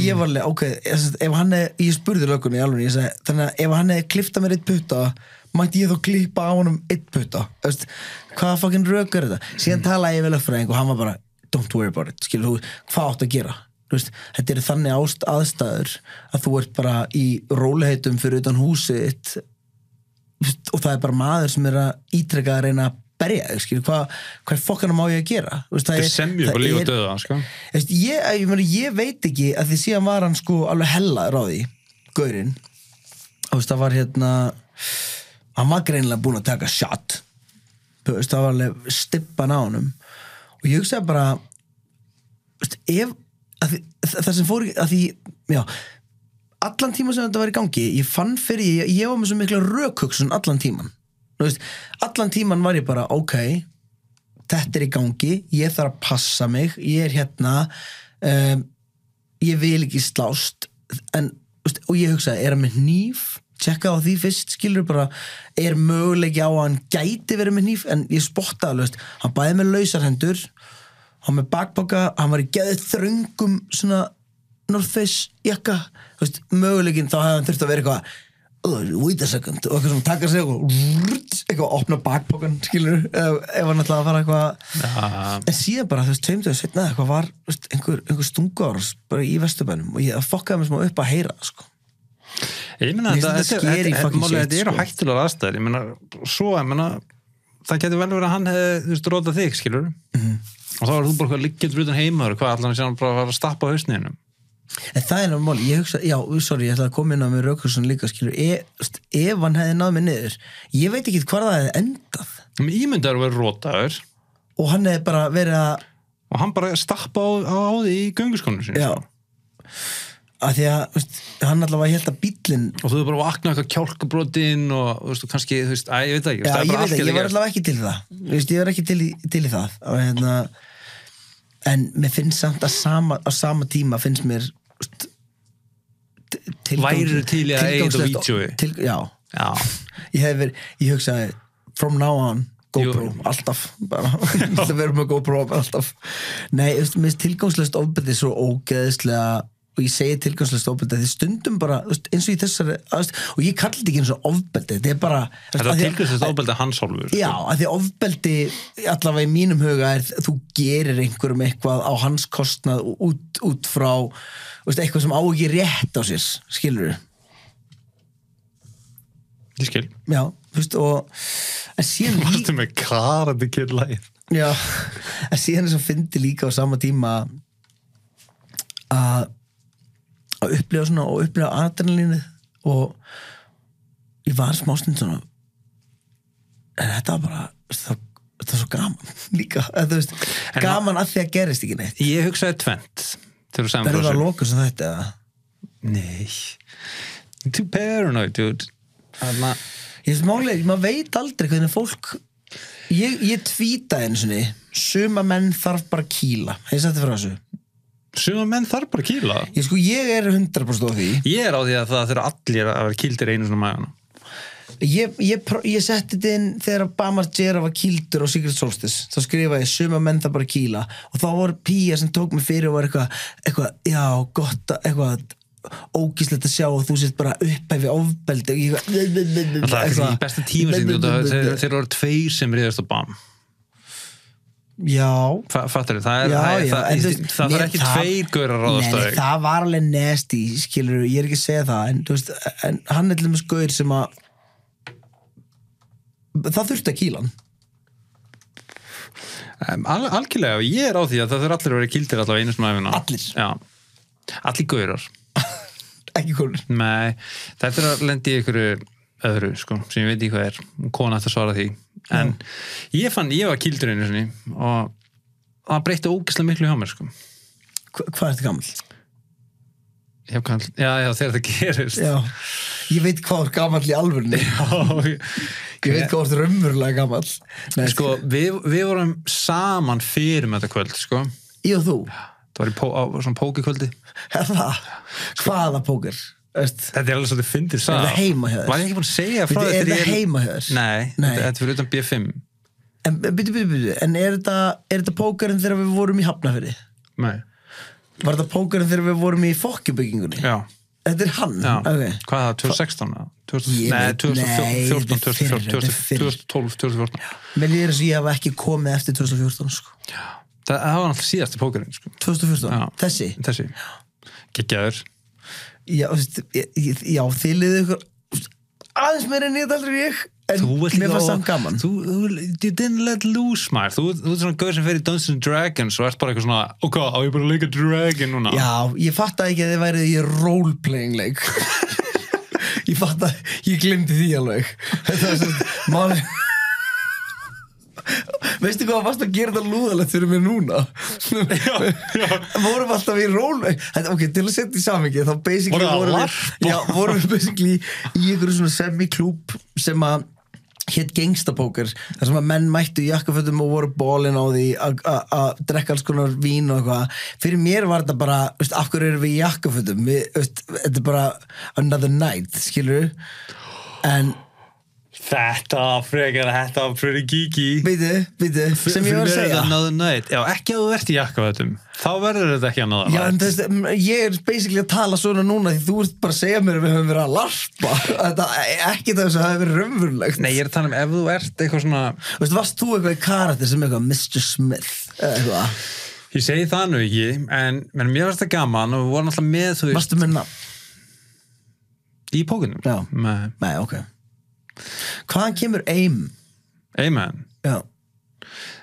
Speaker 2: ég var alveg, ok, ég, sem sagt, ef hann er, ég spurði löggunni alveg, ég segi, þannig að ef hann hefði klifta mér eitt putta, mætti ég þá klippa á honum eitt putta, veist hvaða fokkin rauk er þetta, síðan talaði ég vel að fræðing og hann var bara, don't worry about it skilur þú, hvað áttu að gera Þú veist, þetta eru þannig ást aðstæður að þú ert bara í róliheitum fyrir utan húsið þitt og það er bara maður sem er að ítrekka að reyna að berja þig, skilur, hvað hva fokkana má ég að gera? Þú Veist,
Speaker 1: Þetta semjur bara líf og döða, sko.
Speaker 2: Þú veist, ég, ég, meni, ég veit ekki að því síðan var hann sko alveg hellaður á því gaurinn Þú veist, það var hérna hann var greinilega búinn að taka shot Þú veist, það var alveg stippan á honum og ég hugsaði bara þú veist, ef að því, það sem fór að því, já allan tíma sem þetta var í gangi ég fann fyrir, ég, ég var með svo mikla rökhugsun allan tíman Þú veist, allan tíman var ég bara, ok þetta er í gangi, ég þarf að passa mig, ég er hérna um, ég vil ekki slást en, veist, og ég hugsaði, er hann með hníf tjekka á því fyrst, skilur bara er möguleiki á að hann gæti verið með hníf en ég spottaði, alveg, veist, hann bæði með lausarhendur hann með bakpoka, hann var í geðið þröngum svona North Face jakka þú veist, möguleikin þá hefði hann þurft að vera eitthvað "Oh, wait a second og eitthvað sem taka sig eitthvað rrrt, eitthvað opna bakpokan skilur ef, ef hann ætlaði að fara eitthvað en síðan bara þú veist tveimtöðu setna eitthvað var þú veist, einhver, einhver stunguárs bara í vesturbænum og ég fokkaði mér smá upp að heyra það, sko.
Speaker 1: Ég meina, þetta,
Speaker 2: Mér
Speaker 1: þetta,
Speaker 2: finnst þetta
Speaker 1: þetta,
Speaker 2: scary
Speaker 1: þetta,
Speaker 2: fucking
Speaker 1: málið er-
Speaker 2: shit,
Speaker 1: þetta eru
Speaker 2: sko.
Speaker 1: hættulega aðstæður. Ég meina, svo, ég meina, það getur vel verið að hann hefði, þú veist, rótað þig, skilur.
Speaker 2: Mhm.
Speaker 1: Og þá er þú bara hvað liggjast utan heimaður, hvað allan sé hann bara að fara að stappa á hausniðinum.
Speaker 2: En það er náttúrulega mál, ég hugsa, já, sorry, ég ætla að koma inn á mér Rökkursun líka, skilur, e, þú veist, ef hann hefði náð mig niður, ég veit ekki hvað það hefði endað
Speaker 1: Ímyndar verið rótaður
Speaker 2: og hann hefði bara verið að,
Speaker 1: og hann bara stappa á, á, á því í gönguskonur sinni.
Speaker 2: já,
Speaker 1: sko.
Speaker 2: að því að, þú veist, hann allavega held að bíllinn,
Speaker 1: Og þú er bara að vakna eitthvað kjálkabrotin og, þú veist, og kannski, þú veist, æ, ég veit það ekki. þú
Speaker 2: já,
Speaker 1: veist, það er bara allt getur
Speaker 2: ég veit ekki, ég var
Speaker 1: gerst.
Speaker 2: allavega ekki til í það, þú veist, ég var ekki til í, til í það, og hérna, en mér finnst samt að sama, á sama tíma finnst mér, þú veist, t- tilgangs-
Speaker 1: Værirðu til í að eiga þetta
Speaker 2: tilgangslegt-
Speaker 1: vídeói?
Speaker 2: til- Já,
Speaker 1: Já.
Speaker 2: ég hef verið, ég hugsaði from now on, GoPro,
Speaker 1: Jú.
Speaker 2: alltaf bara, það verður með GoPro bara alltaf, nei, þú veist, mér finnst tilgangslöst ofbeldi svo ógeðslega og ég segi tilgangslöst ofbeldi, því stundum bara, þú veist, eins og í þessari aðst, og ég kalli þetta ekki eins og ofbeldi, þetta er bara þú veist,
Speaker 1: Þetta
Speaker 2: af
Speaker 1: er
Speaker 2: því að-
Speaker 1: tilkvæmstast ábælda hans hálfur.
Speaker 2: Já,
Speaker 1: sko.
Speaker 2: af því ofbeldi allavega í mínum huga er þú gerir einhverjum eitthvað á hans kostnað út, út frá þú veist, eitthvað sem á ekki rétt á sér skilur
Speaker 1: Ég skil.
Speaker 2: já, þú veist, og en síðan líka
Speaker 1: Þetta með karandi kyrlæð.
Speaker 2: Já, en síðan er svo fyndi líka á sama tíma að að upplifa svona og upplifa adrenalínu og ég var smástund svona en þetta var bara það, það er svo gaman líka eða, þú veist,
Speaker 1: En-
Speaker 2: gaman að því að gerist ekki neitt
Speaker 1: Ég hugsaði tvent. Þegar þú sagði
Speaker 2: verður
Speaker 1: frá
Speaker 2: það að
Speaker 1: þessu.
Speaker 2: loka sem þetta eða?
Speaker 1: Nei Too paranoid, dude Þannig að
Speaker 2: Ég veist málega, maður veit aldrei hvernig fólk Ég, ég tvítaði einu sinni Suma menn þarf bara að kýla Ég setti frá þessu
Speaker 1: Suma menn þarf bara að kýla
Speaker 2: Ég sko, ég er 100% á því
Speaker 1: Ég er á því að það þurfa allir að vera kýldir einu svona maður
Speaker 2: Ég, ég, pró- ég setti þetta inn þegar Bamar Gera var kýldur á Secret Solstice þá skrifaði ég suma menn það bara kýla og þá voru pía sem tók mig fyrir og var eitthvað, eitthvað, já, gott að- eitthvað, ógíslegt að sjá og þú sett bara upphæfi ofbeldi og ég eitthvað,
Speaker 1: Það er kannski í besta tíma sinni út af- þeir þeir eru tveir sem reyðast á BAM
Speaker 2: Já,
Speaker 1: Fattar þið, það er-
Speaker 2: já,
Speaker 1: það
Speaker 2: já,
Speaker 1: er
Speaker 2: en
Speaker 1: það-
Speaker 2: þú
Speaker 1: það-
Speaker 2: veist,
Speaker 1: það er
Speaker 2: mér-
Speaker 1: ekki tveir gaurar að ráðast á
Speaker 2: Nei, nei,
Speaker 1: þig
Speaker 2: það var alveg nasty, skilur ég er ekki að segja það, en, þú veist, en hann er til dæmis gaur sem að það þurfti að kýla hann
Speaker 1: Em, Al, algjörlega, ég er á því að það þurfa allir að vera kildir allavega einu svona æfina
Speaker 2: Allir?
Speaker 1: Já, allir gaurar
Speaker 2: ekki konur
Speaker 1: Nei, það er að lendi í einhverju öðru, sko, sem ég veit ekki hvað er kona ætti að svara því en ég fann, ég var kildur einu sinni og það breytti ógislega miklu hjá mér, sko
Speaker 2: Hva, hvað er þetta gammal?
Speaker 1: ég hef kann, já, já, þegar það gerist
Speaker 2: Já, ég veit hvað er gammal í alvörni ég veit hvað er raunverulega gammal Nei,
Speaker 1: sko, við, við vorum saman fyrir með þetta kvöld, sko
Speaker 2: ég og þú,
Speaker 1: það var í pó, á, svona pókikvöldi
Speaker 2: er það hvaða póker? Veist,
Speaker 1: Þetta er alveg svolítið fyndið sko.
Speaker 2: Er það heima hjá þér?
Speaker 1: Var ég ekki búin að segja frá
Speaker 2: Bíddu, er
Speaker 1: þegar
Speaker 2: það
Speaker 1: ég
Speaker 2: heima hjá þér?
Speaker 1: Nei,
Speaker 2: Nei.
Speaker 1: Þetta, þetta er fyrir utan B5
Speaker 2: en byrju, byrju, byrju en er þetta, er þetta pókerinn þegar við vorum í Hafnafyrði?
Speaker 1: Nei,
Speaker 2: Var þetta pókerinn þegar við vorum í fokkjubyggingunni?
Speaker 1: já,
Speaker 2: Þetta er hann?
Speaker 1: já
Speaker 2: Ok.
Speaker 1: Hvað er það, 2016? eða? 2000,
Speaker 2: Ég
Speaker 1: nei,
Speaker 2: veit-
Speaker 1: 2014,
Speaker 2: nei, þetta er fyrr,
Speaker 1: 2014,
Speaker 2: þetta er fyrr.
Speaker 1: 2012, 2014
Speaker 2: Mér líður þess að ég hef ekki komið eftir 2014 sko.
Speaker 1: Það, það var náttúrulega síðasti pókerinn sko.
Speaker 2: 2014,
Speaker 1: Já.
Speaker 2: þessi
Speaker 1: Þessi, geggjaður
Speaker 2: já, þú veist, ég- ég- já, þið liðið ykkur aðeins meira en ég heldur ég en
Speaker 1: ert
Speaker 2: mér
Speaker 1: líka
Speaker 2: fannst
Speaker 1: á-
Speaker 2: samt gaman
Speaker 1: þú, þú, You didn't let loose, maður Þú, þú ert svona gauð sem fer í Dungeons and Dragons og ert bara eitthvað svona, ok, á ég bara að leika dragon núna
Speaker 2: Já, ég fattaði ekki að þið værið í role-playing leik Ég fattaði, ég glemdi því alveg Þetta var svo máli Veistu hvað varst að gera þetta lúðalegt fyrir mér núna? Já, já Vorum alltaf í role Þetta, Ok, til að setja í samingi þá basically
Speaker 1: Voruð að
Speaker 2: vorum við,
Speaker 1: larpa?
Speaker 2: já, vorum við basically í einhverju svona semi-klúb sem að hétt gangstapóker þar sem að menn mættu í jakkafötum og voru bólin á því að- að að drekka alls konar vín og eitthvað fyrir mér var þetta bara, veist, af hverju erum við í jakkafötum við, veist, þetta er bara another night, skilur en,
Speaker 1: Þetta var frekar, þetta var pretty geeky
Speaker 2: beidu, beidu sem ég
Speaker 1: Fyrir mér er
Speaker 2: var að segja
Speaker 1: þetta another night. Já, ekki að þú ert í jakkafötum þá verður þetta ekki another
Speaker 2: Já, en
Speaker 1: night
Speaker 2: þess, m- ég er basically að tala svona núna því þú ert bara að segja mér að við höfum verið að larpa þetta, ekki þess að það hefur verið raunverulegt
Speaker 1: Nei, ég er að tala um ef þú ert eitthvað svona
Speaker 2: Veistu, varst þú eitthvað í karakter sem eitthvað Mr. Smith eða eitthvað,
Speaker 1: Ég segi það nú ekki, en, en mér varst það gaman og við vorum alltaf með þú veist
Speaker 2: varstu með nafn
Speaker 1: í pókunum
Speaker 2: Já.
Speaker 1: Með-
Speaker 2: Nei, ok Hvaðan kemur aim?
Speaker 1: Amen
Speaker 2: Já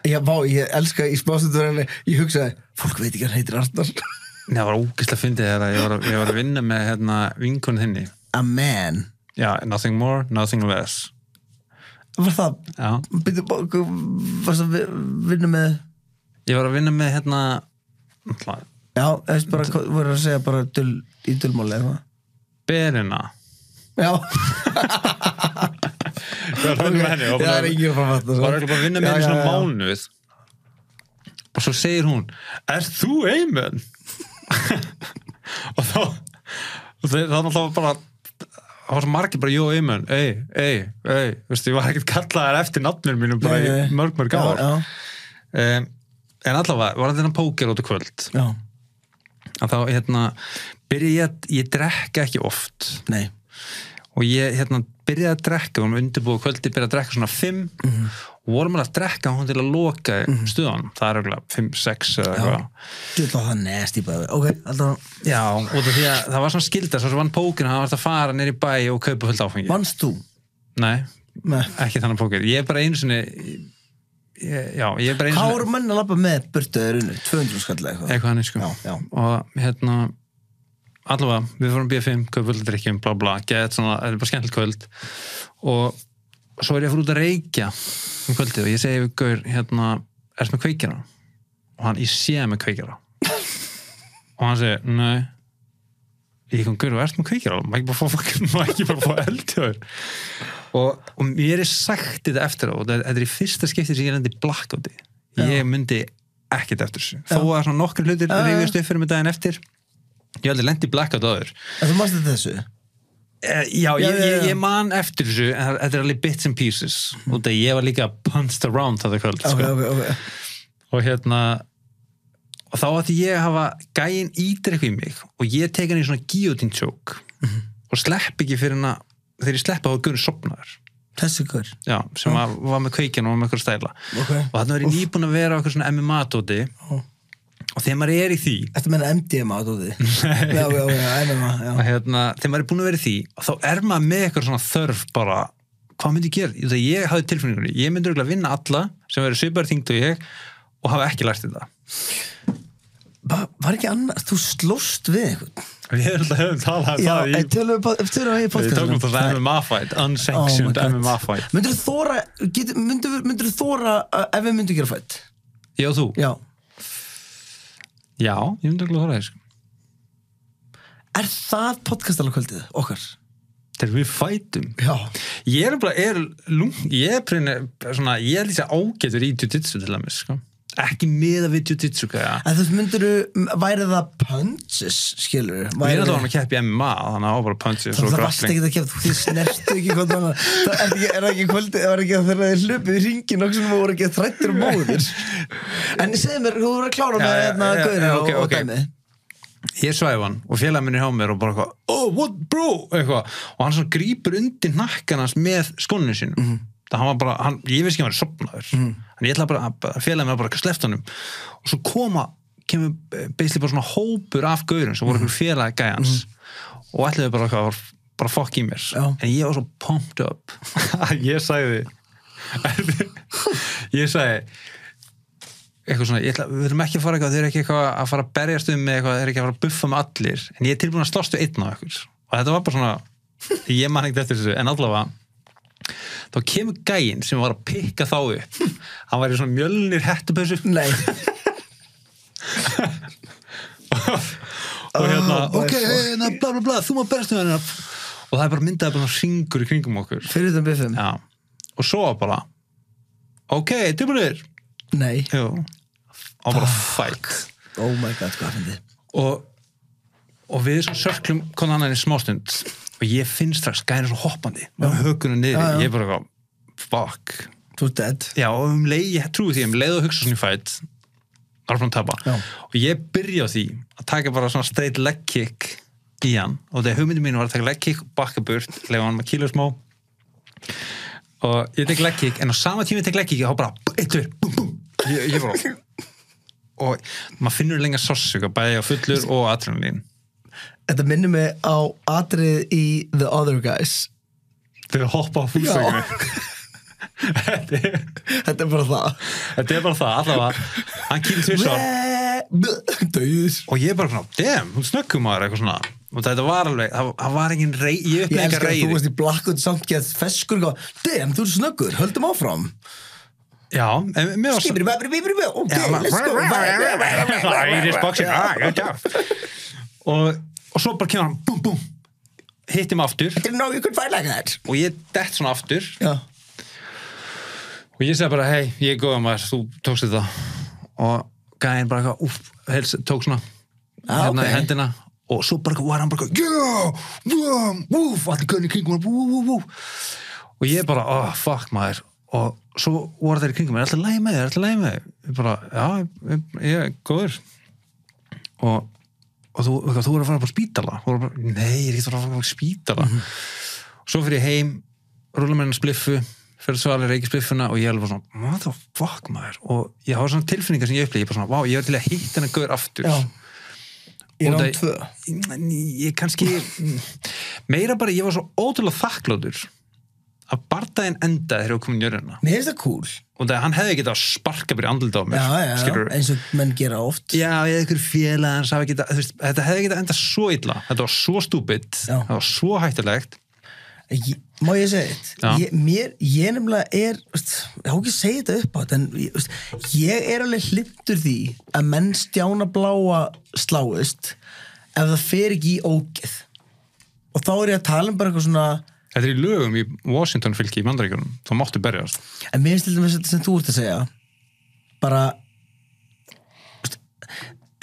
Speaker 2: Já, vá, ég elska í spásundurinn ég hugsaði, fólk veit ekki hann heitir Arnar
Speaker 1: Nei, það var ógeðslega fyndið þegar ég var, að- ég var að vinna með hérna, vinkonu þinni
Speaker 2: A man
Speaker 1: Já, nothing more, nothing less
Speaker 2: Var það,
Speaker 1: Já,
Speaker 2: byrju, varst það vinna með
Speaker 1: ég var að vinna með hérna náttúrulega,
Speaker 2: Já, veist bara, hvað- voru að segja bara dul, í dulmáli eða eitthvað
Speaker 1: Berina
Speaker 2: Já
Speaker 1: Ég var að vinna með henni og
Speaker 2: Já, það er
Speaker 1: bara-
Speaker 2: ekki að fara sko. að fatta
Speaker 1: var ekki bara að vinna með henni í svona
Speaker 2: mál
Speaker 1: mánuð og svo segir hún er þú Eymen? og þá og þeir, þannig að það var bara það var svo margir bara, jú Eymen, ey, ey, ey veistu, ég var ekkert kallaðar eftir nafnir mínum bara í mörg, mörg ár
Speaker 2: Já,
Speaker 1: um, en allavega, var þetta póker út í kvöld
Speaker 2: já, já.
Speaker 1: að þá, hérna, byrja ég að ég drekka ekki oft
Speaker 2: nei
Speaker 1: og ég hérna byrjaði að drekka, við vorum undirbúið kvöldi byrjaði að drekka svona 5
Speaker 2: Mhm.
Speaker 1: og vorum alveg að drekka hún til að loka mm stöðan, það er auðvitað 5, 6 eða eitthvað
Speaker 2: Þú ætla það nest í bæði Ok, alltaf,
Speaker 1: já, út af því að það var svona skilda svo sem vann pókina, það var að fara nýr í bæ og kaupa fullt áfengi
Speaker 2: vannst þú?
Speaker 1: nei,
Speaker 2: Nei.
Speaker 1: ekki þannig póker, ég er bara einu sinni ég, já, ég er bara einu
Speaker 2: Hvað
Speaker 1: sinni
Speaker 2: voru menn að lappa með burtuður unni? 200 skall eða eitthvað
Speaker 1: eitthvað hann sko
Speaker 2: Já, já.
Speaker 1: og hérna allavega, við fórum B5, kaupa fullt drikkjum bla bla, get svona, þetta er bara skemmtilegt kvöld og svo er ég að fara út að reykja um kvöldið og ég segi við Gaur, hérna, erst með kveikjara? Og hann, ég sé með kveikjara og hann segi, nei ég kom, Gaur, erst með kveikjara? Má ekki bara fá, má ekki bara fá eldjöður og, og mér er sagt þetta eftir á og þetta er í fyrsta skipti sem ég lendi í blackouti ég myndi ekkert eftir þessu þó að svona nokkur hlutir
Speaker 2: já.
Speaker 1: reyfist upp fyrir mig daginn eftir ég hef aldrei lendi í blackout áður
Speaker 2: En þú mást þetta þessu?
Speaker 1: Eh, Já,
Speaker 2: Já,
Speaker 1: ég,
Speaker 2: já,
Speaker 1: ég,
Speaker 2: já.
Speaker 1: ég man eftir þessu en það- þetta er alveg bits and pieces og það ég var líka punched around þetta kvöld
Speaker 2: Ok,
Speaker 1: sko.
Speaker 2: ok, ok.
Speaker 1: og hérna og þá átti ég að hafa gæin ítir eitthvað í mig og ég tek hann í svona guillotine choke og slepp ekki fyrir hann þegar ég sleppa þá gurur sopnaður
Speaker 2: Þessu hver?
Speaker 1: já, sem var, var með kveikjan og var með eitthvað stæla
Speaker 2: Ok.
Speaker 1: og þannig var ég nýbúin að vera á eitthvað svona MMA-dóti og þegar maður er í því
Speaker 2: Ertu að meina MDMA, þú þið? Já, já, já, MMA, já.
Speaker 1: að hérna, þegar maður er búin að vera í því þá er maður með eitthvað svona þörf bara, hvað myndi ég gera? Ég, það ég hafði tilfinningunni, ég myndi örugglega vinna alla sem verður svipar þingd og ég og hafa ekki lært þetta
Speaker 2: Ba var ekki annað, þú slóst við eitthvað?
Speaker 1: Við erum alltaf höfum talað um
Speaker 2: Já, eh, en tölum við, pa- tölum við í
Speaker 1: við
Speaker 2: podcastinu.
Speaker 1: tókum það það MMA fight,
Speaker 2: Oh
Speaker 1: unsanctioned MMA fight
Speaker 2: Myndur þú þóra, getur, myndur, myndur þú þóra uh, ef við myndum gera fætt?
Speaker 1: Ég og þú?
Speaker 2: Já.
Speaker 1: Já, ég myndi örugglega þóra þess
Speaker 2: Er það podcastala kvöldið okkar?
Speaker 1: Þegar við fætum
Speaker 2: Já.
Speaker 1: Ég er bara, er lung, ég er prinni, svona, ég er lýsa ágætur í jiu-jitsu til dæmis, sko. Ekki miða við jiu-jitsu, hvað
Speaker 2: En þú myndur, væri það punches, skilur?
Speaker 1: Við erum alltaf að keppa í MMA, þannig að það var bara punches og
Speaker 2: Það varst
Speaker 1: grappling.
Speaker 2: ekki að kemta, þú snertu ekki hvort annað. Það er ekki, er það ekki kvöldið, það var ekki að þeirra hlupið í ringin og sem voru ekki að þrættir og móðir. En segðu mér, þú voru að klára
Speaker 1: Já,
Speaker 2: með
Speaker 1: já,
Speaker 2: hérna
Speaker 1: já, já,
Speaker 2: gauðinu
Speaker 1: ok,
Speaker 2: og,
Speaker 1: ok.
Speaker 2: og dæmið.
Speaker 1: ég svæf hann og félag minn er hjá mér og bara eitthvað, oh what bro eitthvað. og hann svona grýpur undir nakkan hans með skóninu sínum mm hann var bara, hann, ég veist ekki að hann er sopnaður en ég ætla bara, að félag minn var bara sleft honum og svo koma kemur eh, basically bara svona hópur af gaurum sem voru eitthvað félag gæjans og ætlaði bara eitthvað bara fokk í mér
Speaker 2: Já.
Speaker 1: en ég var svo pumped up að ég sagði ég sagði eitthvað svona, ég ætla, við erum ekki að fara eitthvað þeir eru ekki eitthvað að fara að berjast um með eitthvað þeir eru ekki að fara að buffa með allir en ég er tilbúin að slást við einn á ykkur og þetta var bara svona, ég man ekkert eftir þessu en allavega þá kemur gæinn sem var að pikka þá upp hann var í svona mjölnir hettupössu
Speaker 2: Nei,
Speaker 1: og hérna,
Speaker 2: Oh,
Speaker 1: ok,
Speaker 2: boy.
Speaker 1: hérna, bla bla bla þú má berjast um hérna og það er bara myndaði bara svona ringur í kringum okkur
Speaker 2: fyrir utan biffum.
Speaker 1: Já. og svo var bara ok, tilbúinir
Speaker 2: Nei.
Speaker 1: og bara fight
Speaker 2: Oh my god, hvað finnst þið?
Speaker 1: og, og við svona sörklum konan annan í smástund og ég finn strax gæri svo hoppandi með hökunum niður,
Speaker 2: Já, já.
Speaker 1: ég er bara eitthvað, fuck
Speaker 2: Þú ert dead.
Speaker 1: já, og um leið, ég trúi því, um leið og hugsa svona í fætt þá er frá að tapa
Speaker 2: Já.
Speaker 1: og ég byrja á því að taka bara svona straight leg kick í hann og þegar hugmyndin mín var að taka leg kick og bakka burt, lega hann að kýla smá og ég tek leg kick en á sama tíma ég tek leg kick, ég há bara eittur, bum bum, ég, ég bara og maður finnur lengar sássuga sko, bæði á fullur og atrunnlín
Speaker 2: Þetta minnir mig á atrið í The Other Guys.
Speaker 1: þegar hoppa á
Speaker 2: fúlsönginu.
Speaker 1: þetta er-
Speaker 2: Þetta er bara það.
Speaker 1: þetta er bara það allavega, hann kýlir tvisvar
Speaker 2: Dauðis.
Speaker 1: og ég er bara svona, damn, hún snöggum maður eitthvað svona, og þetta var alveg það það var engin rey, ég
Speaker 2: Ég
Speaker 1: uppnæði enga
Speaker 2: elskar að þú
Speaker 1: reyði
Speaker 2: veist í blakkut samt gett feskur og gá- Damn, þú ert snöggur, höldum áfram
Speaker 1: já, en mér var
Speaker 2: Skibri, bæbri, bæbri, bæbri, ok,
Speaker 1: Já, maður-
Speaker 2: let's go
Speaker 1: Irish boxing ah, good job. og, og svo bara kemur hann búm, búm, hittum aftur
Speaker 2: Þetta er nóg, ég kunn fæla ekki þær
Speaker 1: og ég dett svona aftur
Speaker 2: Já,
Speaker 1: og ég segi bara, hei, ég er góða maður þú tókst þetta og gæðin bara eitthvað, úff, hels, tók svona
Speaker 2: Ah,
Speaker 1: hérna
Speaker 2: ok.
Speaker 1: í hendina og svo bara var hann bara eitthvað, yeah, yeah, úff, allir gönni kringum hann, vú, vú, vú og ég bara, oh, fuck maður og svo voru þeir í kringum, er alltaf læg með þig, er alltaf læg með þig ég bara, já, ég- ég er góður og, og þú, eitthvað, þú voru að fara upp á spítala þú voru bara, nei, ég er ekki að fara að fara upp á spítala
Speaker 2: Mhm.
Speaker 1: svo fyrir ég heim rúla með hennar spliffu fyrir svo alveg reiki spliffuna og ég er alveg bara svona what the fuck maður og ég hafa svona tilfinningar sem ég upplýði, ég bara svona, vá, ég er til að hitta hennar gaur aftur
Speaker 2: Já. ég
Speaker 1: Og
Speaker 2: er án
Speaker 1: það-
Speaker 2: tvö
Speaker 1: En ég kannski meira bara, ég var svo ótrúlega þakklótur að bardaðin endaði þegar ég var komin í jörðina
Speaker 2: Mér finnst það cool
Speaker 1: og það hann hefði getað að sparka bara í andlita á mér
Speaker 2: Já, já, já,
Speaker 1: skilurðu.
Speaker 2: eins og menn gera oft
Speaker 1: já, eða ykkur félag hans hafi getað, þú veist, þetta hefði getað endað svo illa þetta var svo stúbid,
Speaker 2: Já.
Speaker 1: þetta var svo hættilegt
Speaker 2: Ég- Má ég segja þetta?
Speaker 1: Já.
Speaker 2: Ég, mér, ég nefnilega er, veist, ég há ekki að segja þetta upp á þetta, en ég- veist, ég er alveg hlindur því að menn stjána bláa sláist ef það fer ekki í ógeð. Og þá er ég að tala um bara eitthvað svona,
Speaker 1: þetta er í lögum í Washington fylki í mandaríkjunum þá máttu berjast
Speaker 2: En mér finnst til dæmis þetta sem þú ert að segja bara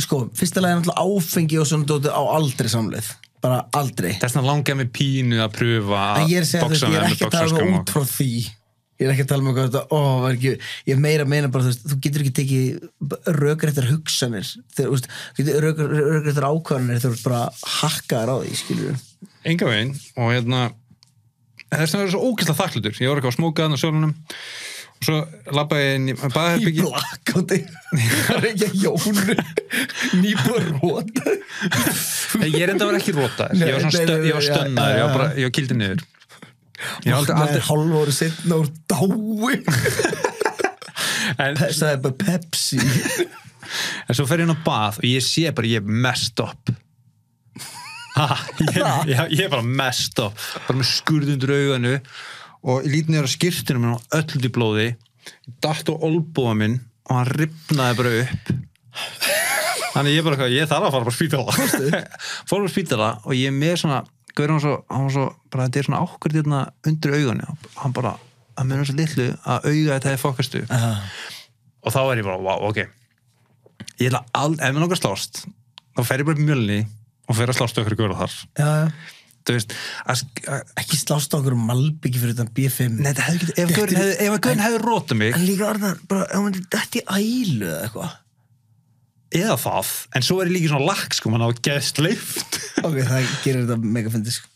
Speaker 2: sko, fyrsta lagi er náttúrulega áfengi og svona dótið á aldrei samleið bara aldrei
Speaker 1: þessna langar mig pínu að pröfa
Speaker 2: en ég er að segja þú veist, ég er ekki að tala um út frá því ég er ekki að tala um eitthvað þetta, ó, var ekki, ég er meira að meina bara þú, veist, þú getur ekki tekið rökrættar hugsanir þegar, þú veist, þú getur rökrættar ákvarðanir þegar þú ert bara hakkaðar á því, skilur
Speaker 1: enga veginn og hérna þess að vera svo ógæslega þakklutur ég var eitthvað að smóka þannig á sjálfunum og svo labbaði ég inn í
Speaker 2: í
Speaker 1: baðherbyggi
Speaker 2: blakkóti það er ekki að jónu nýbúið róta
Speaker 1: ég er enda að vera ekki rótaður ég var,
Speaker 2: Nei, nei,
Speaker 1: stö,
Speaker 2: nei,
Speaker 1: ég var
Speaker 2: já,
Speaker 1: stönnaður,
Speaker 2: já,
Speaker 1: ég var
Speaker 2: já.
Speaker 1: bara ég var kildið niður ég var aldrei,
Speaker 2: það
Speaker 1: aldrei
Speaker 2: er hálf ári setna úr dái
Speaker 1: en,
Speaker 2: það er bara Pepsi
Speaker 1: en svo fer ég inn á bað og ég sé bara ég er messed up ha, ég, ég, ég er bara messed up bara með skurðundur auganu og ég lít niður á skýrtunum minn og öll út í blóði ég datt á olbúa minn og hann ripnaði bara upp þannig ég bara eitthvað, ég þarf að fara bara spítala fór bara spítala og ég er með svona gaur hann svo, hann var svo bara þetta er svona ákvörð hérna undir auganu hann bara, að munum svo litlu að auga þetta er fokkastu og þá er ég bara, wow, ok ég ætla all, ef mér langar að slást þá fer ég bara upp í mjölni og fer að slást okkur góra þar
Speaker 2: já, já.
Speaker 1: þú veist, að, sk- að,
Speaker 2: ekki slást á okkur um malbyggi fyrir utan B5
Speaker 1: nei, það hefði ekki ef gaurin hefði, ef gaurin hefði rótað mig
Speaker 2: en líka orðnar, bara, ef maður dætt í ælu eða eitthvað
Speaker 1: eða það, en svo er ég líka svona lax sko, mann á geðsleift
Speaker 2: ok, það gerir þetta mega fyndið sko.